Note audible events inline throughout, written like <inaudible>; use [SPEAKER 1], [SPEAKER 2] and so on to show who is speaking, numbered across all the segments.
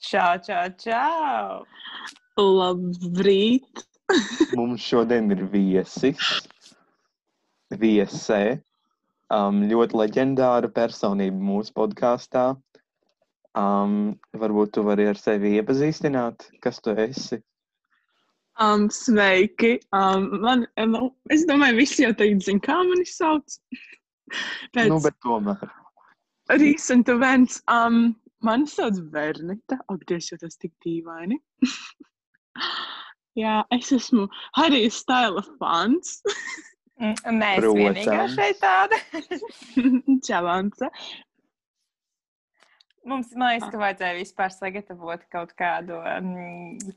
[SPEAKER 1] Čau, čau, čau!
[SPEAKER 2] Labrīt!
[SPEAKER 3] Mums šodien ir viesis, viesē, um, ļoti leģendāra personība mūsu podkāstā. Um, varbūt tu vari ar sevi iepazīstināt, kas tu esi.
[SPEAKER 2] Um, sveiki! Um, man, nu, es domāju, visi jau tagad zina, kā mani sauc. <laughs> Pēc
[SPEAKER 3] Nu,
[SPEAKER 2] nu,
[SPEAKER 3] bet tomēr.
[SPEAKER 2] bet... recent events. Um, mani sauc Vernita. Ak, Dievs, jau tas tik dīvaini. <laughs> Jā, es esmu Harija Staila fans. <laughs>
[SPEAKER 1] Mm, Mēs
[SPEAKER 3] Protams.
[SPEAKER 1] vienīgā šeit tāda. <laughs>
[SPEAKER 2] Čavanca.
[SPEAKER 1] Mums, man liekas,
[SPEAKER 3] Ah.
[SPEAKER 1] ka vajadzēja vispār sagatavot kaut kādu mm,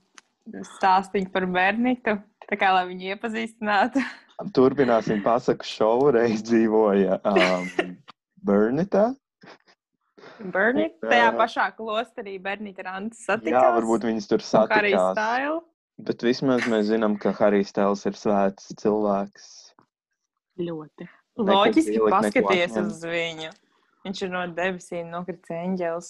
[SPEAKER 1] stāstu par bērnītu, tā kā lai viņu
[SPEAKER 3] <laughs>
[SPEAKER 1] iepazīstinātu.
[SPEAKER 3] Turpināsim pasaku šovu. Reiz dzīvoja um, Bernita.
[SPEAKER 1] Bērnīt, tajā pašā klosterī bērnīt ir Ants satikās.
[SPEAKER 3] Jā, varbūt viņas tur
[SPEAKER 1] Un kā arī
[SPEAKER 3] satikās.
[SPEAKER 1] stāju.
[SPEAKER 3] Bet vismaz mēs zinām, ka Harijs Tēls ir svēts cilvēks.
[SPEAKER 2] Ļoti.
[SPEAKER 3] Nekas
[SPEAKER 1] Loģiski
[SPEAKER 3] ielikt, neko
[SPEAKER 1] paskaties
[SPEAKER 3] atņemt.
[SPEAKER 1] uz viņu. Viņš ir no debesīm nokritis eņģēlis.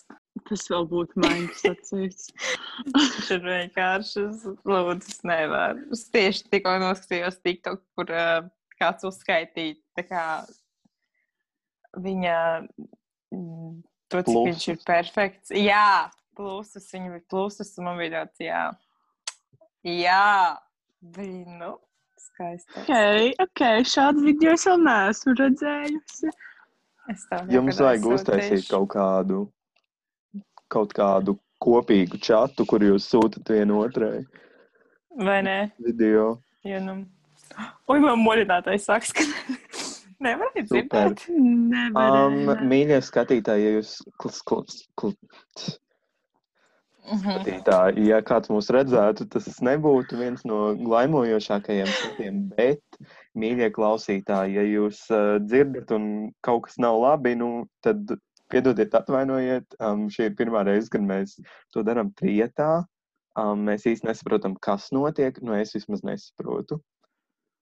[SPEAKER 2] Tas vēl būtu mans
[SPEAKER 3] <laughs>
[SPEAKER 2] atsevišķi.
[SPEAKER 1] Viņš ir vienkārši slūdzis. Nevar. Es tieši tikko noskatījos TikTok, kur uh, kāds uzskaitīja tā kā viņa mm, to, cik viņš ir
[SPEAKER 3] Plusus.
[SPEAKER 1] perfekts. Jā, plusus, viņa bija plusus, un man bija tāds, jā, jā, bija, nu, skaisti.
[SPEAKER 2] Ok, ok, šādu video es vēl neesmu redzējusi.
[SPEAKER 1] Es tev
[SPEAKER 3] Jums
[SPEAKER 1] nekad
[SPEAKER 3] vajag
[SPEAKER 1] aizsūtīšu.
[SPEAKER 3] uztaisīt kaut kādu, kaut kādu kopīgu čatu, kur jūs sūtat vienotrai
[SPEAKER 1] Vai ne?
[SPEAKER 3] video.
[SPEAKER 1] Jo, nu, <gasps> oi, man modinātais sāks, ka <laughs> nevarēja
[SPEAKER 3] Super.
[SPEAKER 1] dzirdēt.
[SPEAKER 3] Um,
[SPEAKER 2] Nevarēju.
[SPEAKER 3] mīļie skatītāji, ja jūs klas, klas, klas,
[SPEAKER 1] Mhm.
[SPEAKER 3] skatītāji, ja kāds mūs redzētu, tas nebūtu viens no laimojošākajiem skatiem, bet, mīļie klausītāji, ja jūs uh, dzirdat un kaut kas nav labi, nu, tad piedodiet, atvainojiet. Um, šī ir pirmā reize, kad mēs to darām trietā. Um, mēs īsti nesaprotam, kas notiek, nu es vismaz nesaprotu.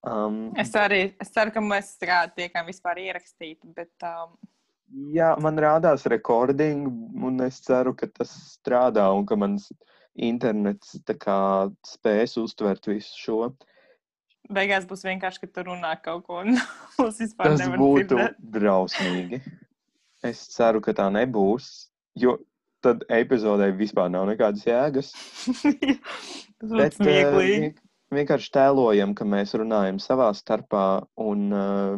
[SPEAKER 3] Um,
[SPEAKER 1] Es arī es ceru, ka mēs tā kā tiekam vispār ierakstīti, bet um,
[SPEAKER 3] Jā, man rādās recording, un es ceru, ka tas strādā un ka mans internets tā kā spēs uztvert visu šo.
[SPEAKER 1] beigās būs vienkārši, ka tu runā kaut ko un <laughs> mums vispār
[SPEAKER 3] Tas
[SPEAKER 1] nevar
[SPEAKER 3] būtu
[SPEAKER 1] dzirdēt.
[SPEAKER 3] drausmīgi. Es ceru, ka tā nebūs, jo tad epizodē vispār nav nekādas jēgas.
[SPEAKER 1] <laughs> Tas būtu Nu, smieklīgi.
[SPEAKER 3] eh, vienkārši tēlojam, ka mēs runājam savā starpā, un uh,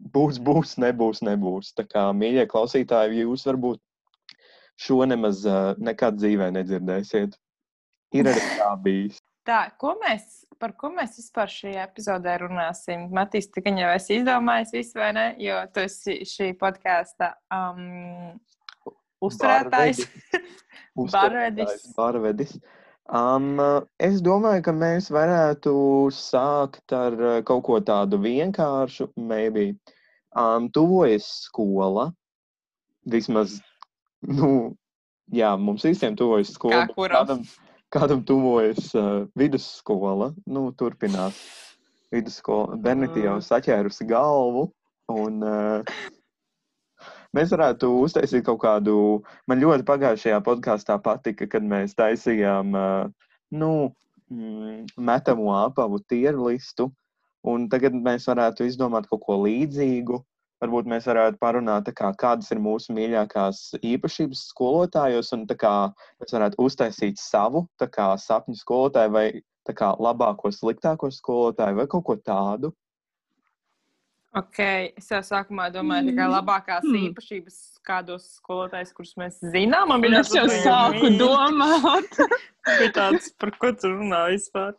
[SPEAKER 3] būs, būs, nebūs, nebūs. Tā kā, mīļie klausītāji, jūs varbūt šo nemaz uh, nekad dzīvē nedzirdēsiet. Ir arī tā bijis.
[SPEAKER 1] Tā, ko mēs, par ko mēs vispār šajā epizodē runāsim? Matīs, tu gan jau esi izdomājis visu, vai ne? Jo tu esi šī podkāsta um, uzturētājs. Barvedis.
[SPEAKER 3] Uzturētājs, Barvedis. Um, es domāju, ka mēs varētu sākt ar uh, kaut ko tādu vienkāršu. Maybe. Um, tuvojas skola. Vismaz, nu, jā, mums visiem tuvojas
[SPEAKER 1] Kā
[SPEAKER 3] skola. bet
[SPEAKER 1] kuram?
[SPEAKER 3] Kādam, kādam tuvojas uh, vidusskola? Nu, turpinās vidusskola. Bernīte jau
[SPEAKER 2] Mm.
[SPEAKER 3] saķērusi galvu. Un, uh, mēs varētu uztaisīt kaut kādu. Man ļoti pagājušajā podkāstā patika, kad mēs taisījām uh, nu, mm, metamo apavu tieru listu. Un tagad mēs varētu izdomāt kaut ko līdzīgu. Varbūt mēs varētu parunāt, tā kā, kādas ir mūsu mīļākās īpašības skolotājos, un tā kā mēs varētu uztaisīt savu tā kā, sapņu skolotāju, vai tā kā labāko, sliktāko skolotāju, vai kaut ko tādu.
[SPEAKER 1] Ok, es jau sākumā domāju, ka labākās
[SPEAKER 2] Mm.
[SPEAKER 1] īpašības kādos skolotājos, kurus mēs zinām, man
[SPEAKER 2] Un
[SPEAKER 1] bija
[SPEAKER 2] es jau sāku domāt.
[SPEAKER 1] bija tāds, par ko tu runā vispār.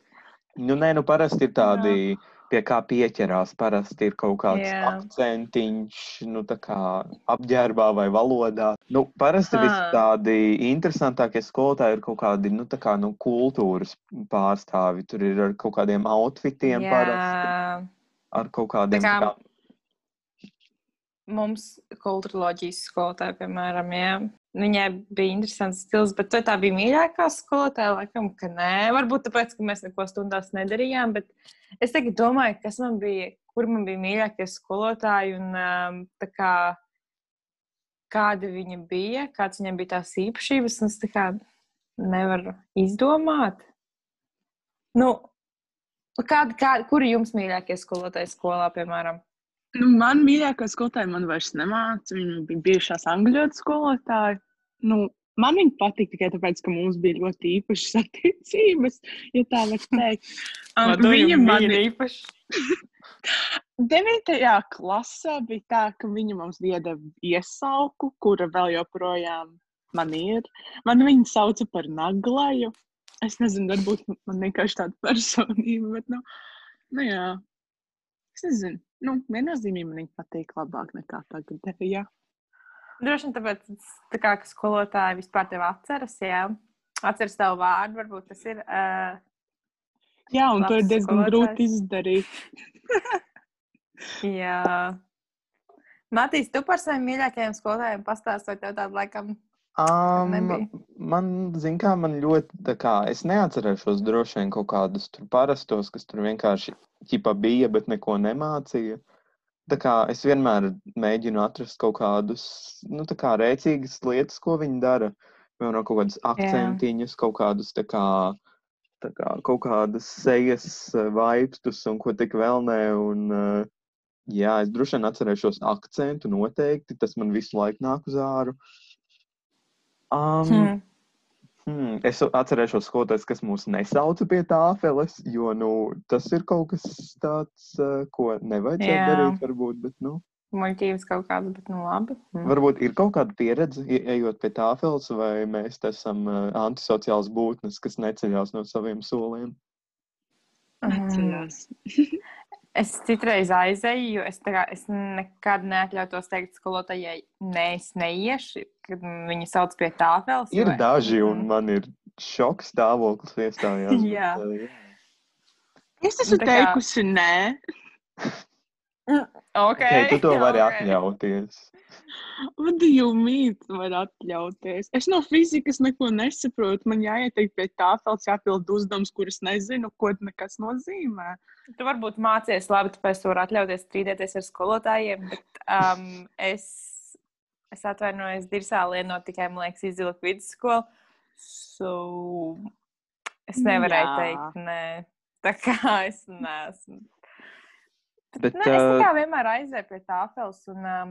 [SPEAKER 3] Nu, nē, nu parasti ir tādi, pie kā pieķerās. Parasti ir kaut kāds
[SPEAKER 1] Jā.
[SPEAKER 3] yeah. akcentiņš, nu, tā kā apģērbā vai valodā. Nu, parasti
[SPEAKER 1] Ha.
[SPEAKER 3] viss tādi interesantākie skolotāji ir kaut kādi, nu, tā kā nu, kultūras pārstāvi. Tur ir ar kaut kādiem outfitiem, yeah. parasti ar kaut
[SPEAKER 1] kā-
[SPEAKER 3] kādiem. tā kā-
[SPEAKER 1] mums kultūroloģijas skolotāja, piemēram, jā. Viņai bija interesants stils, bet vai tā bija mīļākā skolotāja, laikam, ka nē. Varbūt tāpēc, ka mēs neko stundās nedarījām, bet es tagad domāju, kas man bija, kur man bija mīļākie skolotāji un um, tā kā, kāda viņa bija, kāds viņam bija tās īpašības. un es tā kā, nevaru izdomāt. Nu, kād, kād, kur ir jums mīļākie skolotāji skolā, piemēram?
[SPEAKER 2] Nu, man mīļākā skolotāja man vairs nemāca. Viņa bija bijušās angļu valodas skolotāja. Nu, man viņa patīk tikai tāpēc, ka mums bija ļoti īpašas attiecības, ja tā var teikt. Um, viņa man
[SPEAKER 1] ir īpaši.
[SPEAKER 2] 9. klasē bija tā, ka viņa mums iedeva iesauku, kura vēl joprojām man ir. Man viņa sauca par naglaju. Es nezinu, varbūt man vienkārši tāda personība, bet, nu, nu jā, es nezinu. Nu, viennozīmīgi man viņa patīk labāk nekā tagad. Jā.
[SPEAKER 1] Droši vien tāpēc, tā kā, ka skolotāji vispār tevi atceras, jā. Atceras tavu vārdu, varbūt tas ir. Uh,
[SPEAKER 2] Jā, un to ir
[SPEAKER 1] Labs
[SPEAKER 2] diezgan grūti
[SPEAKER 1] skolotājs.
[SPEAKER 2] izdarīt.
[SPEAKER 1] jā. Matīs, tu par saviem mīļākajiem skolotājiem pastāstīji, vai tev tāda laikam
[SPEAKER 3] Um,
[SPEAKER 1] nebija?
[SPEAKER 3] man, zin kā, man ļoti, tā kā, es neatcerēšos droši vien kaut kādus tur parastos, kas tur vienkārši ķipa bija, bet neko nemācīja. Tā kā es vienmēr mēģinu atrast kaut kādus, nu, tā kā rēcīgas lietas, ko viņi dara. Piemēram, kaut kādus akcentiņus, kaut kādus, tā kā, tā kā, kaut kādas sejas eh, vaipstus un ko tik vēl nē. Un, eh, jā, es droši vien atcerēšos akcentu noteikti, tas man visu laiku nāk uz āru. Um, hmm.
[SPEAKER 1] Hmm.
[SPEAKER 3] Hmm, es atcerēšos skolotāju, kas mūs nesauca pie tā afeles, jo nu, tas ir kaut kas tāds, eh, ko nevajadzētu
[SPEAKER 1] Jā.
[SPEAKER 3] darīt. Varbūt, bet, nu,
[SPEAKER 1] Muļķības kaut kādas, bet nu labi. Mm.
[SPEAKER 3] varbūt ir kaut kāda pieredze, ie- ejot pie tā afeles, vai mēs te esam eh, antisociāls būtnes, kas neceļās no saviem soliem.
[SPEAKER 1] Mm.
[SPEAKER 2] Atcerās.
[SPEAKER 1] Es citreiz aizēju, jo es, tā kā, es nekad neatļautos teikt skolotājai, nē, es neiešu, kad viņi sauc pie tā vēl.
[SPEAKER 3] Ir daži, un man ir šoks stāvoklis iestājās. bet,
[SPEAKER 1] Mhm. <laughs> Jā.
[SPEAKER 3] eh, jā.
[SPEAKER 2] Es esmu
[SPEAKER 1] Nu, Tā kā-
[SPEAKER 2] teikusi, nē,
[SPEAKER 1] Ok,
[SPEAKER 3] Okay, tu to
[SPEAKER 1] <laughs>
[SPEAKER 3] vari
[SPEAKER 1] ok.
[SPEAKER 3] atļauties.
[SPEAKER 2] what do you mean? tu Vari atļauties. Es no fizikas neko nesaprotu. Man jāieteikt pie tā, felts jāpild uzdevums, kurus nezinu, ko nekas nozīmē.
[SPEAKER 1] Tu varbūt mācies labi, tāpēc tu vari atļauties strīdēties ar skolotājiem. Bet, um, es, es atvainojos, Dirzā Lienā tikai, man liekas, izvilku vidusskolu. So, es nevarēju
[SPEAKER 2] Jā.
[SPEAKER 1] Jā. teikt, nē. Tā kā es neesmu.
[SPEAKER 3] Bet,
[SPEAKER 1] Nē, Nu, es tā
[SPEAKER 3] eh,
[SPEAKER 1] kā vienmēr aizēju pie tā apelsnes, un um,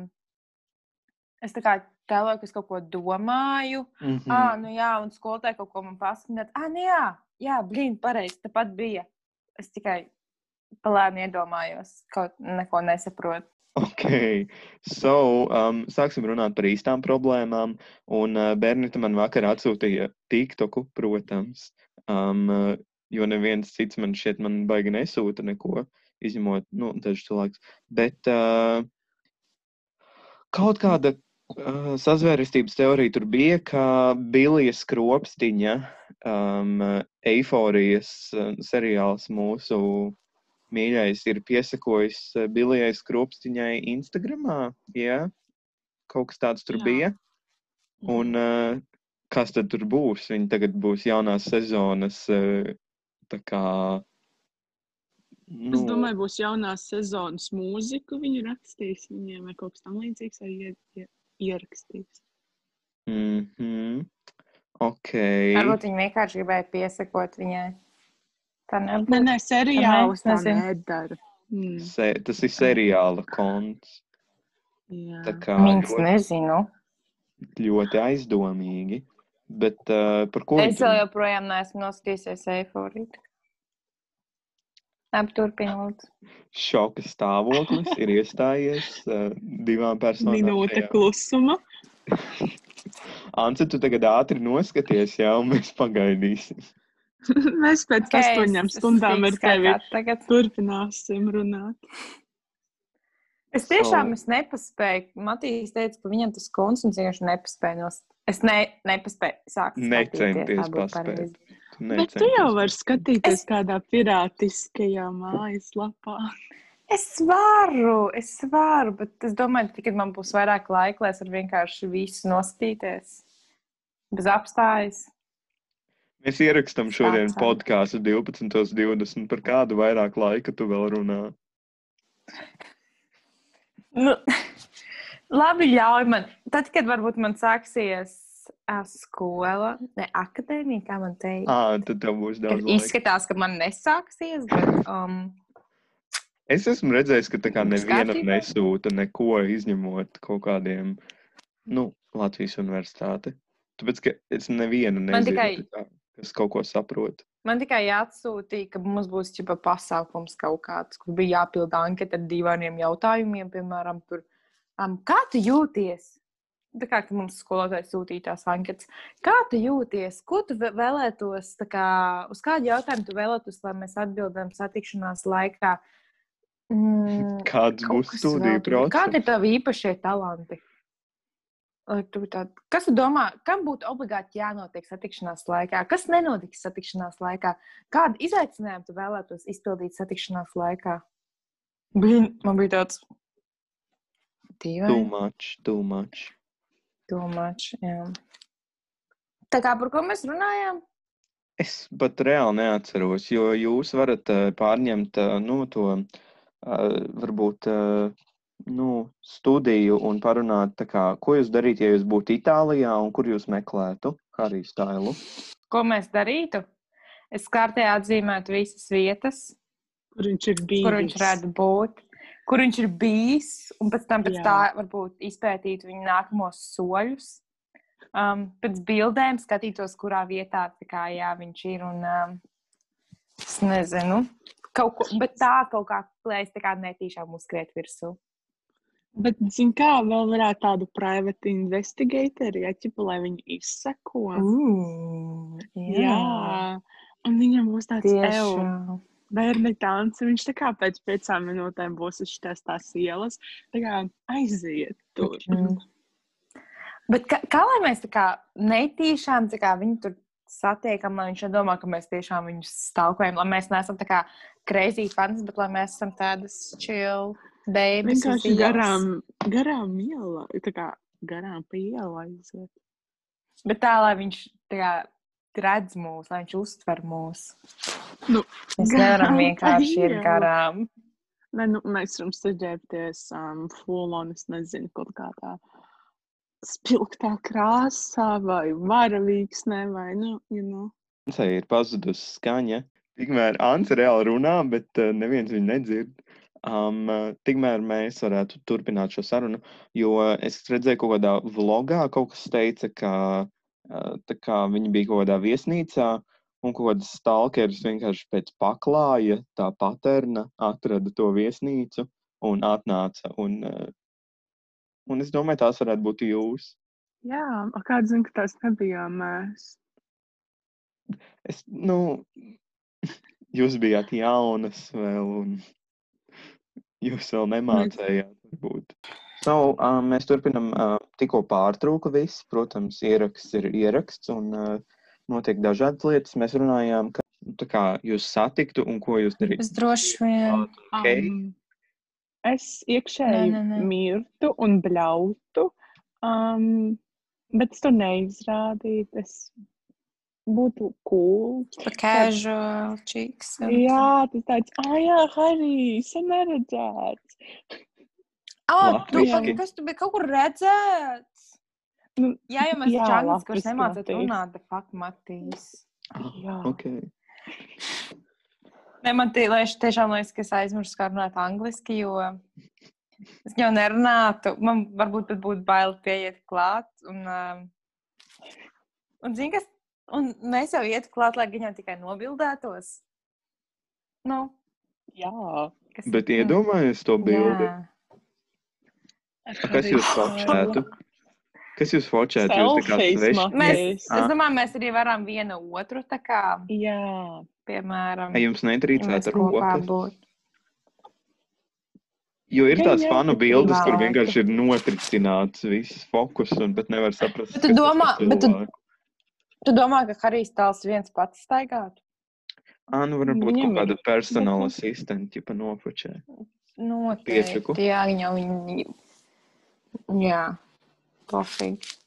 [SPEAKER 1] es tā kā tēloju, ka es kaut ko domāju.
[SPEAKER 3] mhm.
[SPEAKER 1] Mm. Ah, nu jā, un skolotāja kaut ko man pasakīja. Ah, nu jā, jā blīni, pareizi, tāpat bija. Es tikai palēni iedomājos, kaut neko nesaprotu.
[SPEAKER 3] Ok, so, um, sāksim runāt par īstām problēmām. Un uh, Bernita man vakar atsūtīja TikToku, protams, um, uh, jo neviens cits man šeit man baigi nesūta neko, izņemot nu, dažus cilvēkus. Bet uh, kaut kāda uh, sazvērestības teorija tur bija, ka Bilijas kropstiņa um, uh, eiforijas uh, seriāls mūsu mīļais ir piesakojis eh, Bilijai Skropstiņai Instagramā. Jā, kaut kas tāds tur
[SPEAKER 2] Jā.
[SPEAKER 3] jā. bija. Un eh, kas tad tur būs? Viņa tagad būs jaunās sezonas. eh, tā Kā, nu,
[SPEAKER 2] Es domāju, būs jaunā sezonas mūzika, viņa rakstīs viņiem vai kaut kas tam līdzīgs, vai ie- ie- ierakstīs.
[SPEAKER 3] Mm -hmm. Ok.
[SPEAKER 1] Varbūt viņi vienkārši gribēja piesakot viņai. Tā nebūtu.
[SPEAKER 2] Nē, nē, seriālus tā
[SPEAKER 1] nezinu.
[SPEAKER 2] nedara. Mm,
[SPEAKER 3] Se, tas ir seriāla konts. Tā
[SPEAKER 2] jā.
[SPEAKER 3] kā
[SPEAKER 1] Mīns,
[SPEAKER 3] ļoti,
[SPEAKER 1] nezinu.
[SPEAKER 3] ļoti aizdomīgi. Bet uh, par ko
[SPEAKER 1] Es
[SPEAKER 3] viņi tur-
[SPEAKER 1] vēl joprojām neesmu noskatījusies eiforitu. Turpinot.
[SPEAKER 3] šoka stāvoklis ir iestājies uh, divām personām?
[SPEAKER 2] Minūte
[SPEAKER 3] tajā
[SPEAKER 2] klusuma.
[SPEAKER 3] Anta, tu tagad ātri noskaties, jau mēs pagaidīsim.
[SPEAKER 2] Mēs pēc okay, astoņām stundām ar tevi
[SPEAKER 1] Tagad.
[SPEAKER 2] turpināsim runāt.
[SPEAKER 1] Es tiešām
[SPEAKER 3] Savu.
[SPEAKER 1] so... nepaspēju. Matīs teica, ka viņam tas konts un vienkārši nepaspēja. Nos... Es ne, nepaspēju sākt.
[SPEAKER 3] Necenties paspēt. Tu
[SPEAKER 2] Bet tu jau
[SPEAKER 3] necenties.
[SPEAKER 2] vari skatīties
[SPEAKER 1] Es-
[SPEAKER 2] kādā pirātiskajā mājaslapā. <laughs>
[SPEAKER 1] Es varu, es varu, bet es domāju, ka tikai man būs vairāk laika, lai es varu vienkārši visu nostīties. Bez apstājas.
[SPEAKER 3] Mēs ierakstām šodien
[SPEAKER 1] Sācām.
[SPEAKER 3] podkāstu 12.20. Par kādu vairāk laika tu vēl runā?
[SPEAKER 1] <laughs> Nu, labi, ļauj man. Tad, kad varbūt man sāksies ā, skola, ne akadēmija, kā man teikt.
[SPEAKER 3] Ah, tad tev būs daudz laika.
[SPEAKER 1] Izskatās, ka man nesāksies, bet um,
[SPEAKER 3] Es esmu redzējis, ka tā kā
[SPEAKER 1] Būs
[SPEAKER 3] nevienam
[SPEAKER 1] kārtībā?
[SPEAKER 3] nesūta neko izņemot kaut kādiem, nu, Latvijas universitāti. Tāpēc, ka es nevienu
[SPEAKER 1] Man
[SPEAKER 3] nezinu,
[SPEAKER 1] tikai-
[SPEAKER 3] tā kā, kas kaut ko saprot.
[SPEAKER 1] man tikai jāatsūtīja, ka mums būs čipa pasākums kaut kāds, kur bija jāpilda anketa ar dīvainiem jautājumiem, piemēram, tur, um, kā tu jūties? Tā kā ka mums skolotājs sūtīja tās anketas. Kā tu jūties? Ko tu vē- vēlētos, tā kā, uz kādu jautājumu tu vēlētos, lai mēs atbildam satikšanās laikā? Mm,
[SPEAKER 3] Kāds
[SPEAKER 1] Kaut
[SPEAKER 3] būs
[SPEAKER 1] kas
[SPEAKER 3] studiju
[SPEAKER 1] vēl tur.
[SPEAKER 3] process?
[SPEAKER 1] Kādi ir tavi īpašie talanti? Lai tu tād- Kas tu domā, kam būtu obligāti jānotiek satikšanās laikā? Kas nenotiks satikšanās laikā? Kādu izaicinājumu tu vēlētos izpildīt satikšanās laikā? Bija, man bija tāds
[SPEAKER 3] Too
[SPEAKER 1] dīvains
[SPEAKER 3] much, too much.
[SPEAKER 1] domāts. Tā kā par ko mēs runājām?
[SPEAKER 3] Es pat reāli neatceros, jo jūs varat eh, pārņemt eh, nu, to eh, varbūt eh, nu, studiju un parunāt, tā kā, ko jūs darītu, ja jūs būtu Itālijā un kur jūs meklētu Harry Stailu.
[SPEAKER 1] Ko mēs darītu? Es kārtē atzīmētu visas vietas,
[SPEAKER 2] Kur viņš ir bijis?
[SPEAKER 1] kur viņš redz būt, kur viņš ir bijis, un pēc tam pēc
[SPEAKER 2] Jā.
[SPEAKER 1] tā varbūt izpētīt viņa nākamos soļus. Um, pēc bildēm skatītos, kurā vietā tā kā, jā, viņš ir. Un, um, es nezinu, kaut ko, bet tā kaut kā, lai es tā kā netīšām uzskriet virsū.
[SPEAKER 2] Bet, zin kā, vēl varētu tādu private investigatoru, ja ķipa, lai viņu izseko.
[SPEAKER 1] Mm,
[SPEAKER 2] Jā. Un viņam būs tāds
[SPEAKER 1] tieši.
[SPEAKER 2] jau bērnu dārsts. Viņš tā kā pēc piecām minūtēm būs uz šīs tās ielas. Tā kā aiziet tur.
[SPEAKER 1] Mm. Bet kā, kā lai mēs tā kā neitīšām tā kā viņu tur satiekam, lai viņš nedomā, ka mēs tiešām viņu stalkojam, lai mēs neesam tā kā crazy fans, bet lai mēs esam tādas chill babies. uz
[SPEAKER 2] Vienkārši
[SPEAKER 1] ielas.
[SPEAKER 2] garām, garām ielai. Tā kā garām pa ielai aiziet.
[SPEAKER 1] Bet tā, lai viņš tā kā redz mūs, lai viņš uztver mūs.
[SPEAKER 2] Nu,
[SPEAKER 1] mēs
[SPEAKER 2] garām
[SPEAKER 1] nevaram
[SPEAKER 2] pa
[SPEAKER 1] vienkārši iet
[SPEAKER 2] ielu.
[SPEAKER 1] garām.
[SPEAKER 2] Nē, nu, mēs varam saģērbties um, full-on, es nezinu, kaut kā tā spilgtā krāsā vai varavīksnē vai, nu, you know.
[SPEAKER 3] Ansai ir pazudusi skaņa. Tikmēr Ansa reāli runā, bet eh, neviens viņu nedzird. Um, tikmēr mēs varētu turpināt šo sarunu, jo es redzēju, ka kaut kādā vlogā kaut kas teica, ka eh, tā kā viņi bija kaut kādā viesnīcā, un kaut kāds stalkeris vienkārši pēc paklāja tā paterna atrada to viesnīcu un atnāca. Un, eh, un es domāju, tās varētu būt jūs.
[SPEAKER 2] Jā, a kāds zina, ka tas nebija mēs.
[SPEAKER 3] Es, nu, jūs bijāt jaunas vēl, un jūs vēl nemācījāt. Varbūt. So, um, mēs turpinām, uh, tikko pārtrauka viss. Protams, ieraksts ir ieraksts, un uh, notiek dažādas lietas. Mēs runājām, ka nu, tā kā, jūs satiktu un ko jūs darītu. Ah,
[SPEAKER 1] Es droši vien.
[SPEAKER 3] Okay.
[SPEAKER 2] Um, es iekšēji
[SPEAKER 1] Nē, nē, nē.
[SPEAKER 2] mirtu un bļautu, um, bet es to neizrādīju. Es būtu cool.
[SPEAKER 1] Pa casual cheeks.
[SPEAKER 2] Jā, tas tāds, ah, jā, Harij, sen neredzēts.
[SPEAKER 1] Ah, tu,
[SPEAKER 3] Latvijas-
[SPEAKER 1] pagaidi, kas tu biji kaut kur redzēts?
[SPEAKER 2] Nu,
[SPEAKER 1] Jā, jau mēs
[SPEAKER 2] jā,
[SPEAKER 1] čānis, kurš
[SPEAKER 2] Latvijas
[SPEAKER 1] nemācīt
[SPEAKER 2] Matīs.
[SPEAKER 1] runāt, the fuck, Matīs.
[SPEAKER 2] Jā,
[SPEAKER 1] Um,
[SPEAKER 3] Okay.
[SPEAKER 1] Ne, man tie, lai es tiešām liekas, ka es aizmirsu, kā runāt angliski, jo es jau nerunātu. Man varbūt pat būtu bail pieiet klāt. Un, um, un, zini, kas, un mēs jau ietu klāt, lai viņi jau tikai nobildētos. Nu,
[SPEAKER 2] jā.
[SPEAKER 1] kas, nu,
[SPEAKER 3] Bet iedomājieties to bildi.
[SPEAKER 1] Jā.
[SPEAKER 3] Kas jūs fočētu? Kas jūs fočētu? Jūs tā kā
[SPEAKER 2] Selfies,
[SPEAKER 3] sveši.
[SPEAKER 2] Mati.
[SPEAKER 1] Mēs,
[SPEAKER 2] Yes. Ah.
[SPEAKER 1] es domāju, mēs arī varam vienu otru, tā kā,
[SPEAKER 2] Jā,
[SPEAKER 1] piemēram,
[SPEAKER 3] Vai Jums
[SPEAKER 1] ja mēs
[SPEAKER 3] netrīcētu
[SPEAKER 1] kopā
[SPEAKER 3] rokas.
[SPEAKER 1] būtu.
[SPEAKER 3] Jo ir
[SPEAKER 2] Jā,
[SPEAKER 3] tās
[SPEAKER 2] jā,
[SPEAKER 3] fanu
[SPEAKER 2] bet
[SPEAKER 3] bildes, kur
[SPEAKER 1] vēlāk.
[SPEAKER 3] vienkārši ir notricināts viss fokus, un pat nevar saprast,
[SPEAKER 1] Bet tu
[SPEAKER 3] kas tas
[SPEAKER 1] domā-
[SPEAKER 3] par
[SPEAKER 1] bet tu-
[SPEAKER 3] cilvēku.
[SPEAKER 1] Tu domā, ka Harijs tāls viens pats staigātu?
[SPEAKER 3] Ā, nu varbūt
[SPEAKER 2] Viņam
[SPEAKER 3] kaut kāda
[SPEAKER 2] ir-
[SPEAKER 3] personāla
[SPEAKER 2] bet-
[SPEAKER 3] asistenta, ja pa nofočē.
[SPEAKER 1] Noteikti.
[SPEAKER 3] Piečuku.
[SPEAKER 1] Jā, viņa jau viņa. Jā, pofīgi.